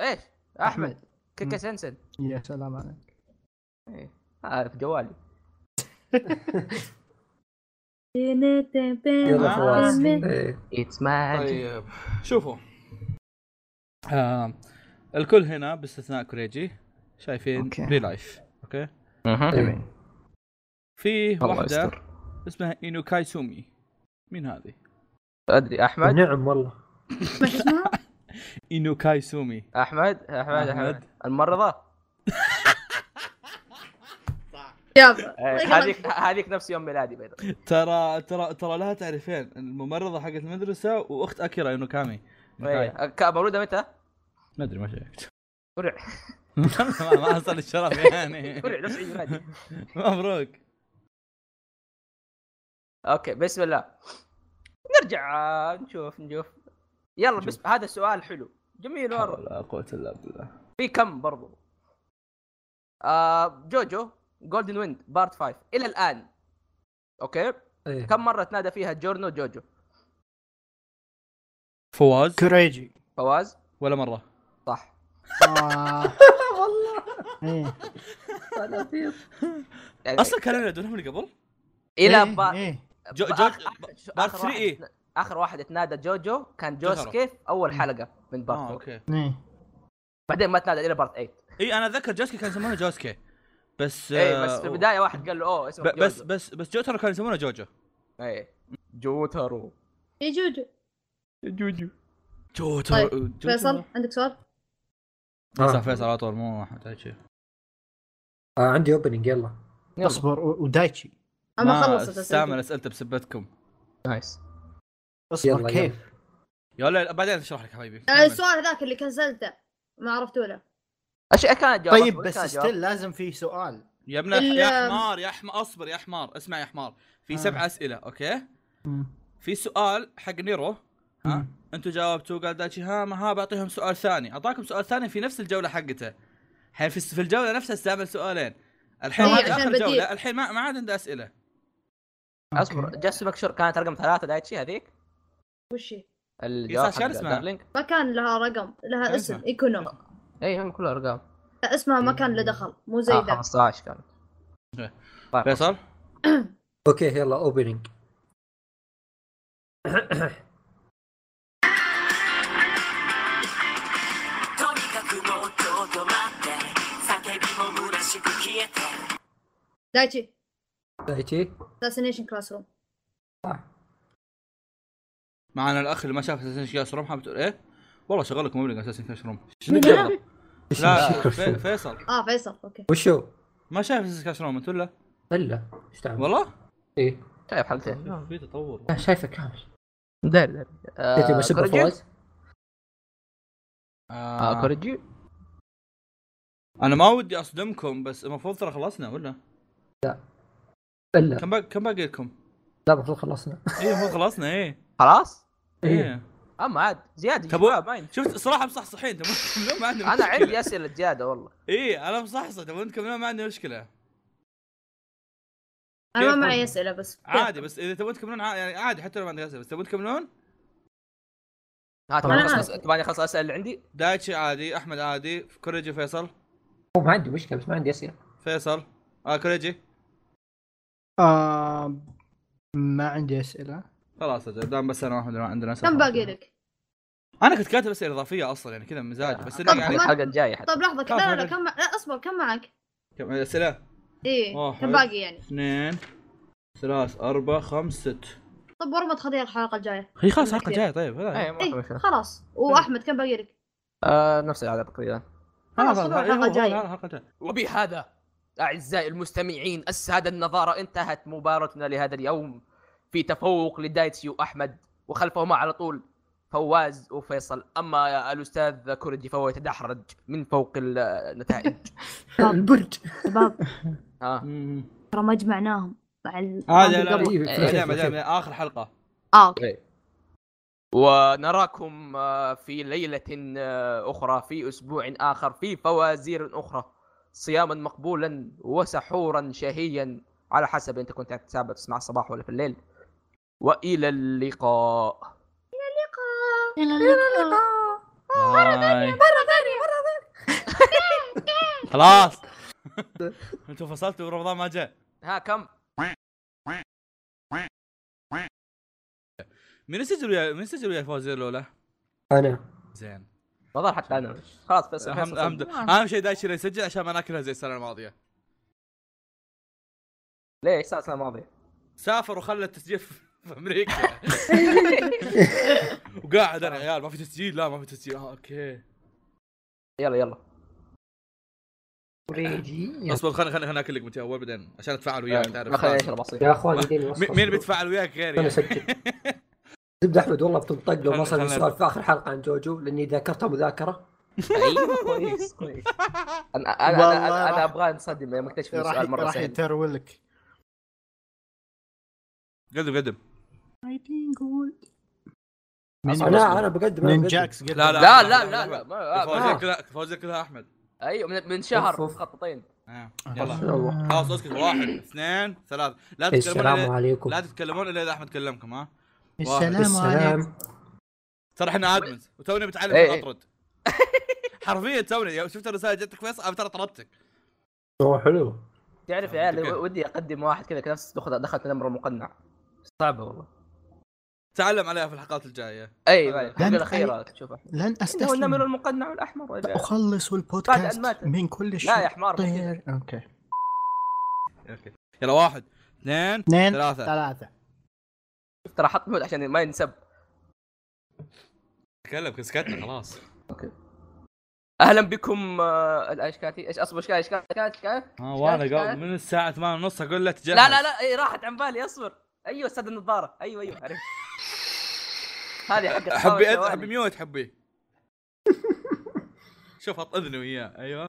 Speaker 1: ايش احمد كيكا سنسن
Speaker 4: يا سلام عليك
Speaker 1: آه في جوالي
Speaker 3: يلا
Speaker 2: آه.
Speaker 3: فواز إيه.
Speaker 1: اتس ماجيك
Speaker 2: طيب شوفوا آه الكل هنا باستثناء كوريجي شايفين
Speaker 4: أوكي.
Speaker 2: بري لايف اوكي
Speaker 3: إيه.
Speaker 2: في
Speaker 1: الله
Speaker 2: واحده
Speaker 1: يستر.
Speaker 2: اسمها اينو كايسومي مين هذه؟
Speaker 1: ادري احمد
Speaker 3: نعم والله
Speaker 2: اينو كايسومي
Speaker 1: احمد احمد
Speaker 2: أحمد.
Speaker 1: احمد الممرضه
Speaker 5: يلا
Speaker 1: إيه، هذيك هذيك نفس يوم ميلادي بيضا
Speaker 2: ترى ترى ترى لها تعريفين الممرضه حقت المدرسه واخت اكيرا اينو كامي ما
Speaker 1: مولوده متى؟
Speaker 2: ادري ما
Speaker 1: طيب.
Speaker 2: شيكت
Speaker 1: قرع
Speaker 2: ما ما حصل الشرف يعني
Speaker 1: قرع نفس عيد ميلادي
Speaker 2: مبروك
Speaker 1: اوكي بسم الله نرجع آه، نشوف نشوف يلا بس هذا سؤال حلو جميل مره
Speaker 2: لا قوه الا بالله
Speaker 1: في كم برضو آه جوجو جولدن ويند بارت 5 الى الان اوكي
Speaker 3: إيه.
Speaker 1: كم مره تنادى فيها جورنو جوجو
Speaker 2: فواز
Speaker 4: كوريجي
Speaker 1: فواز
Speaker 2: ولا مره
Speaker 1: صح
Speaker 4: آه.
Speaker 3: والله
Speaker 4: إيه.
Speaker 3: أنا فيصل.
Speaker 1: يعني
Speaker 2: اصلا كانوا ينادونهم اللي قبل
Speaker 1: الى
Speaker 4: إيه،
Speaker 1: يعني با...
Speaker 4: إيه.
Speaker 2: جو-
Speaker 1: آخر-
Speaker 2: جو-
Speaker 1: آخر-
Speaker 2: بارت
Speaker 1: آخر
Speaker 2: 3
Speaker 1: واحد-
Speaker 2: إيه؟
Speaker 1: اخر واحد اتنادى جوجو كان
Speaker 2: جوتارو.
Speaker 1: جوسكي في اول حلقه من بارت
Speaker 2: اه
Speaker 1: 4
Speaker 2: اوكي
Speaker 4: إيه.
Speaker 1: بعدين ما تنادى الى بارت 8
Speaker 2: اي انا اتذكر جوسكي كان يسمونه جوسكي بس
Speaker 1: اي إيه، بس في
Speaker 2: آه،
Speaker 1: البدايه واحد قال له اوه اسمه إيه.
Speaker 2: ب- بس بس بس جوترو كان يسمونه جوجو
Speaker 1: اي جوتارو
Speaker 5: يا إيه، جوجو
Speaker 1: جوجو
Speaker 2: جوترو جوترو.
Speaker 5: طيب، فيصل عندك سؤال؟
Speaker 2: فيصل
Speaker 3: آه.
Speaker 2: فيصل على طول مو احمد تايتشي
Speaker 3: آه عندي اوبننج يلا
Speaker 4: اصبر و- ودايتشي
Speaker 5: اما
Speaker 2: ما
Speaker 5: خلصت
Speaker 2: استعمل اسئلتي
Speaker 5: اسئلتي
Speaker 2: بسبتكم
Speaker 1: نايس
Speaker 4: اصبر
Speaker 3: يلا،
Speaker 4: كيف
Speaker 2: يا لا بعدين اشرح لك حبيبي
Speaker 5: آه، السؤال ذاك اللي كنسلته ما عرفته له
Speaker 1: ايش كان جواب
Speaker 4: طيب بس ستيل لازم في سؤال
Speaker 2: يا ابن الح- يا
Speaker 5: ال-
Speaker 2: حمار يا حمار اصبر يا حمار اسمع يا حمار في
Speaker 4: آه.
Speaker 2: سبع اسئله اوكي
Speaker 4: مم.
Speaker 2: في سؤال حق نيرو ها
Speaker 4: مم.
Speaker 2: انتوا جاوبتوا قال دايتشي ها ما ها بعطيهم سؤال ثاني اعطاكم سؤال ثاني في نفس الجوله حقته الحين في, في الجوله نفسها استعمل سؤالين الحين
Speaker 5: إيه،
Speaker 2: هذه
Speaker 5: عشان
Speaker 2: اخر
Speaker 5: بديل.
Speaker 2: جوله الحين ما, ما عاد عنده اسئله
Speaker 1: اصبر جاست ميك شور كانت رقم ثلاثه دايتشي هذيك
Speaker 5: وش هي؟
Speaker 1: الجواب
Speaker 2: صار شو
Speaker 1: حق
Speaker 2: اسمها؟
Speaker 1: دارلينج
Speaker 5: ما كان لها رقم لها
Speaker 2: كان
Speaker 5: اسم
Speaker 2: اسمها.
Speaker 5: ايكونو
Speaker 1: اي إيه، هم كلها ارقام
Speaker 5: اسمها ما كان له دخل مو زي
Speaker 1: آه
Speaker 5: ذا
Speaker 1: 15 كانت
Speaker 2: إيه.
Speaker 1: طيب،
Speaker 2: فيصل
Speaker 3: اوكي يلا اوبننج
Speaker 5: دايتشي
Speaker 3: دايتشي
Speaker 5: اساسنيشن كلاس روم
Speaker 2: معنا الاخ اللي ما شاف اساسن كلاس روم حاب تقول ايه والله شغلك مبلغ اساسن كلاس روم
Speaker 3: إيش
Speaker 2: لا
Speaker 3: الشكل
Speaker 2: في-
Speaker 3: فيه؟
Speaker 2: فيصل
Speaker 5: اه فيصل اوكي
Speaker 3: وشو؟
Speaker 2: ما شاف اساسن كلاس روم انت ولا
Speaker 3: الا ايش تعمل؟
Speaker 2: والله
Speaker 3: ايه
Speaker 1: طيب حلقتين
Speaker 2: في تطور
Speaker 3: لا، شايفه كامل
Speaker 1: داري داري
Speaker 3: جيت يوم اسب
Speaker 1: كوريجي؟
Speaker 3: إيه، فواز
Speaker 1: آه
Speaker 2: آه
Speaker 1: كوريجي
Speaker 2: انا ما ودي اصدمكم بس المفروض ترى خلصنا ولا
Speaker 3: الا
Speaker 2: كم باقي كم باقي لكم؟
Speaker 3: لا المفروض خلصنا إيه.
Speaker 2: اي المفروض خلصنا ايه
Speaker 1: خلاص
Speaker 5: إيه.
Speaker 2: ايه
Speaker 1: اما عاد زياد
Speaker 2: تبو-
Speaker 1: شباب، ما ينفع.
Speaker 2: شفت صراحه مصحصحين تبون تكملون ما عندي
Speaker 1: انا
Speaker 2: مشكلة.
Speaker 1: عندي اسئله زياده والله
Speaker 2: ايه انا مصحصح تبون تكملون ما عندي
Speaker 5: إيه.
Speaker 2: مشكله
Speaker 5: انا
Speaker 2: كيف؟
Speaker 5: ما معي اسئله بس
Speaker 2: عادي بس اذا تبون تكملون عا- يعني عادي حتى لو ما عندي اسئله بس تبون تكملون
Speaker 1: ها تبغى
Speaker 5: أنا
Speaker 1: خلص
Speaker 5: عارف.
Speaker 1: تبغاني اخلص الاسئله اللي عندي
Speaker 2: دايتشي عادي احمد عادي كوريجي فيصل
Speaker 3: هو ما عندي مشكله بس ما عندي اسئله
Speaker 2: فيصل آه كوريجي
Speaker 4: آه ما عندي اسئله
Speaker 2: خلاص أجل، دام بس انا واحمد ما عندنا أسئلة.
Speaker 5: كم باقي لك؟
Speaker 2: انا كنت كاتب اسئله اضافيه اصلا يعني كذا مزاج بس إنه
Speaker 5: طب
Speaker 2: يعني
Speaker 5: ما-
Speaker 1: الحلقه الجايه حتى
Speaker 5: طب لحظه كم- لا لا لا طيب، كم لا اصبر كم معك؟
Speaker 2: كم اسئله
Speaker 5: ايه
Speaker 2: واحد.
Speaker 5: كم باقي يعني؟
Speaker 2: اثنين ثلاث اربع خمس ست
Speaker 5: طب طيب، ورا ما تخليها الحلقه الجايه
Speaker 2: هي خلاص الحلقه الجايه طيب هذا
Speaker 1: اي إيه، ما في
Speaker 5: ايه
Speaker 1: مشكله
Speaker 5: خلاص واحمد كم باقي لك؟
Speaker 1: آه، نفس العدد تقريبا
Speaker 5: خلاص خذوها الحلقه الجايه
Speaker 2: الحلقه الجايه
Speaker 1: وبهذا أعزائي المستمعين السادة النظارة انتهت مباراتنا لهذا اليوم في تفوق لدايتسي وأحمد وخلفهما على طول فواز وفيصل أما الأستاذ كوريجي فهو يتدحرج من فوق النتائج
Speaker 3: البرج
Speaker 5: شباب
Speaker 1: آه.
Speaker 5: ترى ما جمعناهم مع ال-
Speaker 2: هذا آه، لا إيه، نعم،
Speaker 3: قبل.
Speaker 2: لا، بعدين- بعدين- بعدين، اخر حلقه
Speaker 5: اه اوكي
Speaker 1: ونراكم آه، في ليلة آه، أخرى في أسبوع آخر في فوازير أخرى صياما مقبولا وسحورا شهيا على حسب أنت كنت تتابع تسمع الصباح ولا في الليل وإلى اللقاء
Speaker 2: مره ثانيه مره ثانيه خلاص انتوا فصلتوا ورمضان ما جاء
Speaker 1: ها كم
Speaker 2: مين سجل ويا مين سجل ويا فوزي الاولى؟
Speaker 3: انا
Speaker 2: زين
Speaker 1: ما ظهر حتى انا خلاص بس
Speaker 2: اهم اهم اهم شيء دايتشي اللي يسجل عشان ما ناكلها زي السنه الماضيه
Speaker 1: ليش السنه الماضيه
Speaker 2: سافر وخلى التسجيل في في امريكا وقاعد انا عيال ما في تسجيل لا ما في تسجيل آه، اوكي
Speaker 1: يلا يلا
Speaker 3: كوريجي
Speaker 2: اصبر خليني خليني خليني اكلك انت اول بعدين عشان اتفاعل وياك تعرف
Speaker 1: ما خليني اشرب عصير
Speaker 3: يا اخوان يديني
Speaker 2: مين- مين بيتفاعل وياك غيري يعني.
Speaker 3: انا اسجل زبد احمد والله بتنطق لو ما صار
Speaker 2: خلنا-
Speaker 3: لي
Speaker 2: خلنا-
Speaker 3: سؤال في اخر حلقه عن جوجو لاني ذاكرتها مذاكره
Speaker 1: ايوه كويس كويس انا انا
Speaker 4: والله
Speaker 1: انا, أنا, أنا
Speaker 4: راح-
Speaker 1: ابغى انصدم يوم اكتشف إن
Speaker 4: راح
Speaker 1: السؤال مره
Speaker 4: راح
Speaker 1: سهل
Speaker 4: يترولك
Speaker 2: قدم قدم
Speaker 3: انا انا بقدم أنا
Speaker 4: من
Speaker 3: بقدم.
Speaker 4: جاكس قدم.
Speaker 2: لا لا
Speaker 1: لا لا لا لا ما-
Speaker 2: فوزية
Speaker 1: ما-
Speaker 2: كلها فوزية كلها احمد
Speaker 1: ايوه من, من شهر
Speaker 3: أوف، أوف.
Speaker 1: مخططين
Speaker 2: آه، يلا
Speaker 3: يلا.
Speaker 2: خلاص اسكت واحد اثنين ثلاثة لا تتكلمون
Speaker 3: إيه، السلام
Speaker 2: إلا-
Speaker 3: عليكم
Speaker 2: لا تتكلمون الا اذا احمد كلمكم ها
Speaker 4: السلام عليكم
Speaker 3: السلام
Speaker 2: ترى احنا ادمنز وتوني بتعلم
Speaker 1: إيه،
Speaker 2: شلون
Speaker 1: إيه.
Speaker 2: اطرد حرفيا توني يوم شفت الرسالة جتك فيصل أنا ترى طردتك
Speaker 3: هو حلو
Speaker 1: تعرف يا عيال ودي اقدم واحد كذا نفس دخلت دخلت الامر المقنع صعبه والله
Speaker 2: تعلم عليها في الحلقات الجايه
Speaker 1: اي أيوة،
Speaker 4: لأن-
Speaker 1: الحلقه الاخيره تشوفها
Speaker 4: لن
Speaker 1: انه النمر
Speaker 4: استسلم
Speaker 1: المقنع الاحمر وجاء.
Speaker 4: اخلص
Speaker 1: بعد
Speaker 4: والبودكاست
Speaker 1: أن ماتت.
Speaker 4: من كل شيء
Speaker 1: لا يا حمار مو كذا.
Speaker 4: طير اوكي
Speaker 2: اوكي يلا واحد اثنين
Speaker 4: اثنين
Speaker 2: ثلاثة.
Speaker 4: ثلاثة
Speaker 1: ترى حط مود عشان ما ينسب
Speaker 2: تكلم سكتنا خلاص
Speaker 1: اهلا بكم آه، ايش كانت هي؟ ايش اصبر ايش كانت ايش كانت إيش كانت
Speaker 2: ها آه، وانا
Speaker 1: شكراً.
Speaker 2: قبل من الساعة 8 ونص اقول له تجهز
Speaker 1: لا لا لا اي راحت عن بالي اصبر ايوه استاذ النظاره ايوه ايوه عرفت هذه حق
Speaker 2: حبي أذ- حبي ميوت حبي شوف حط اذني وياه ايوه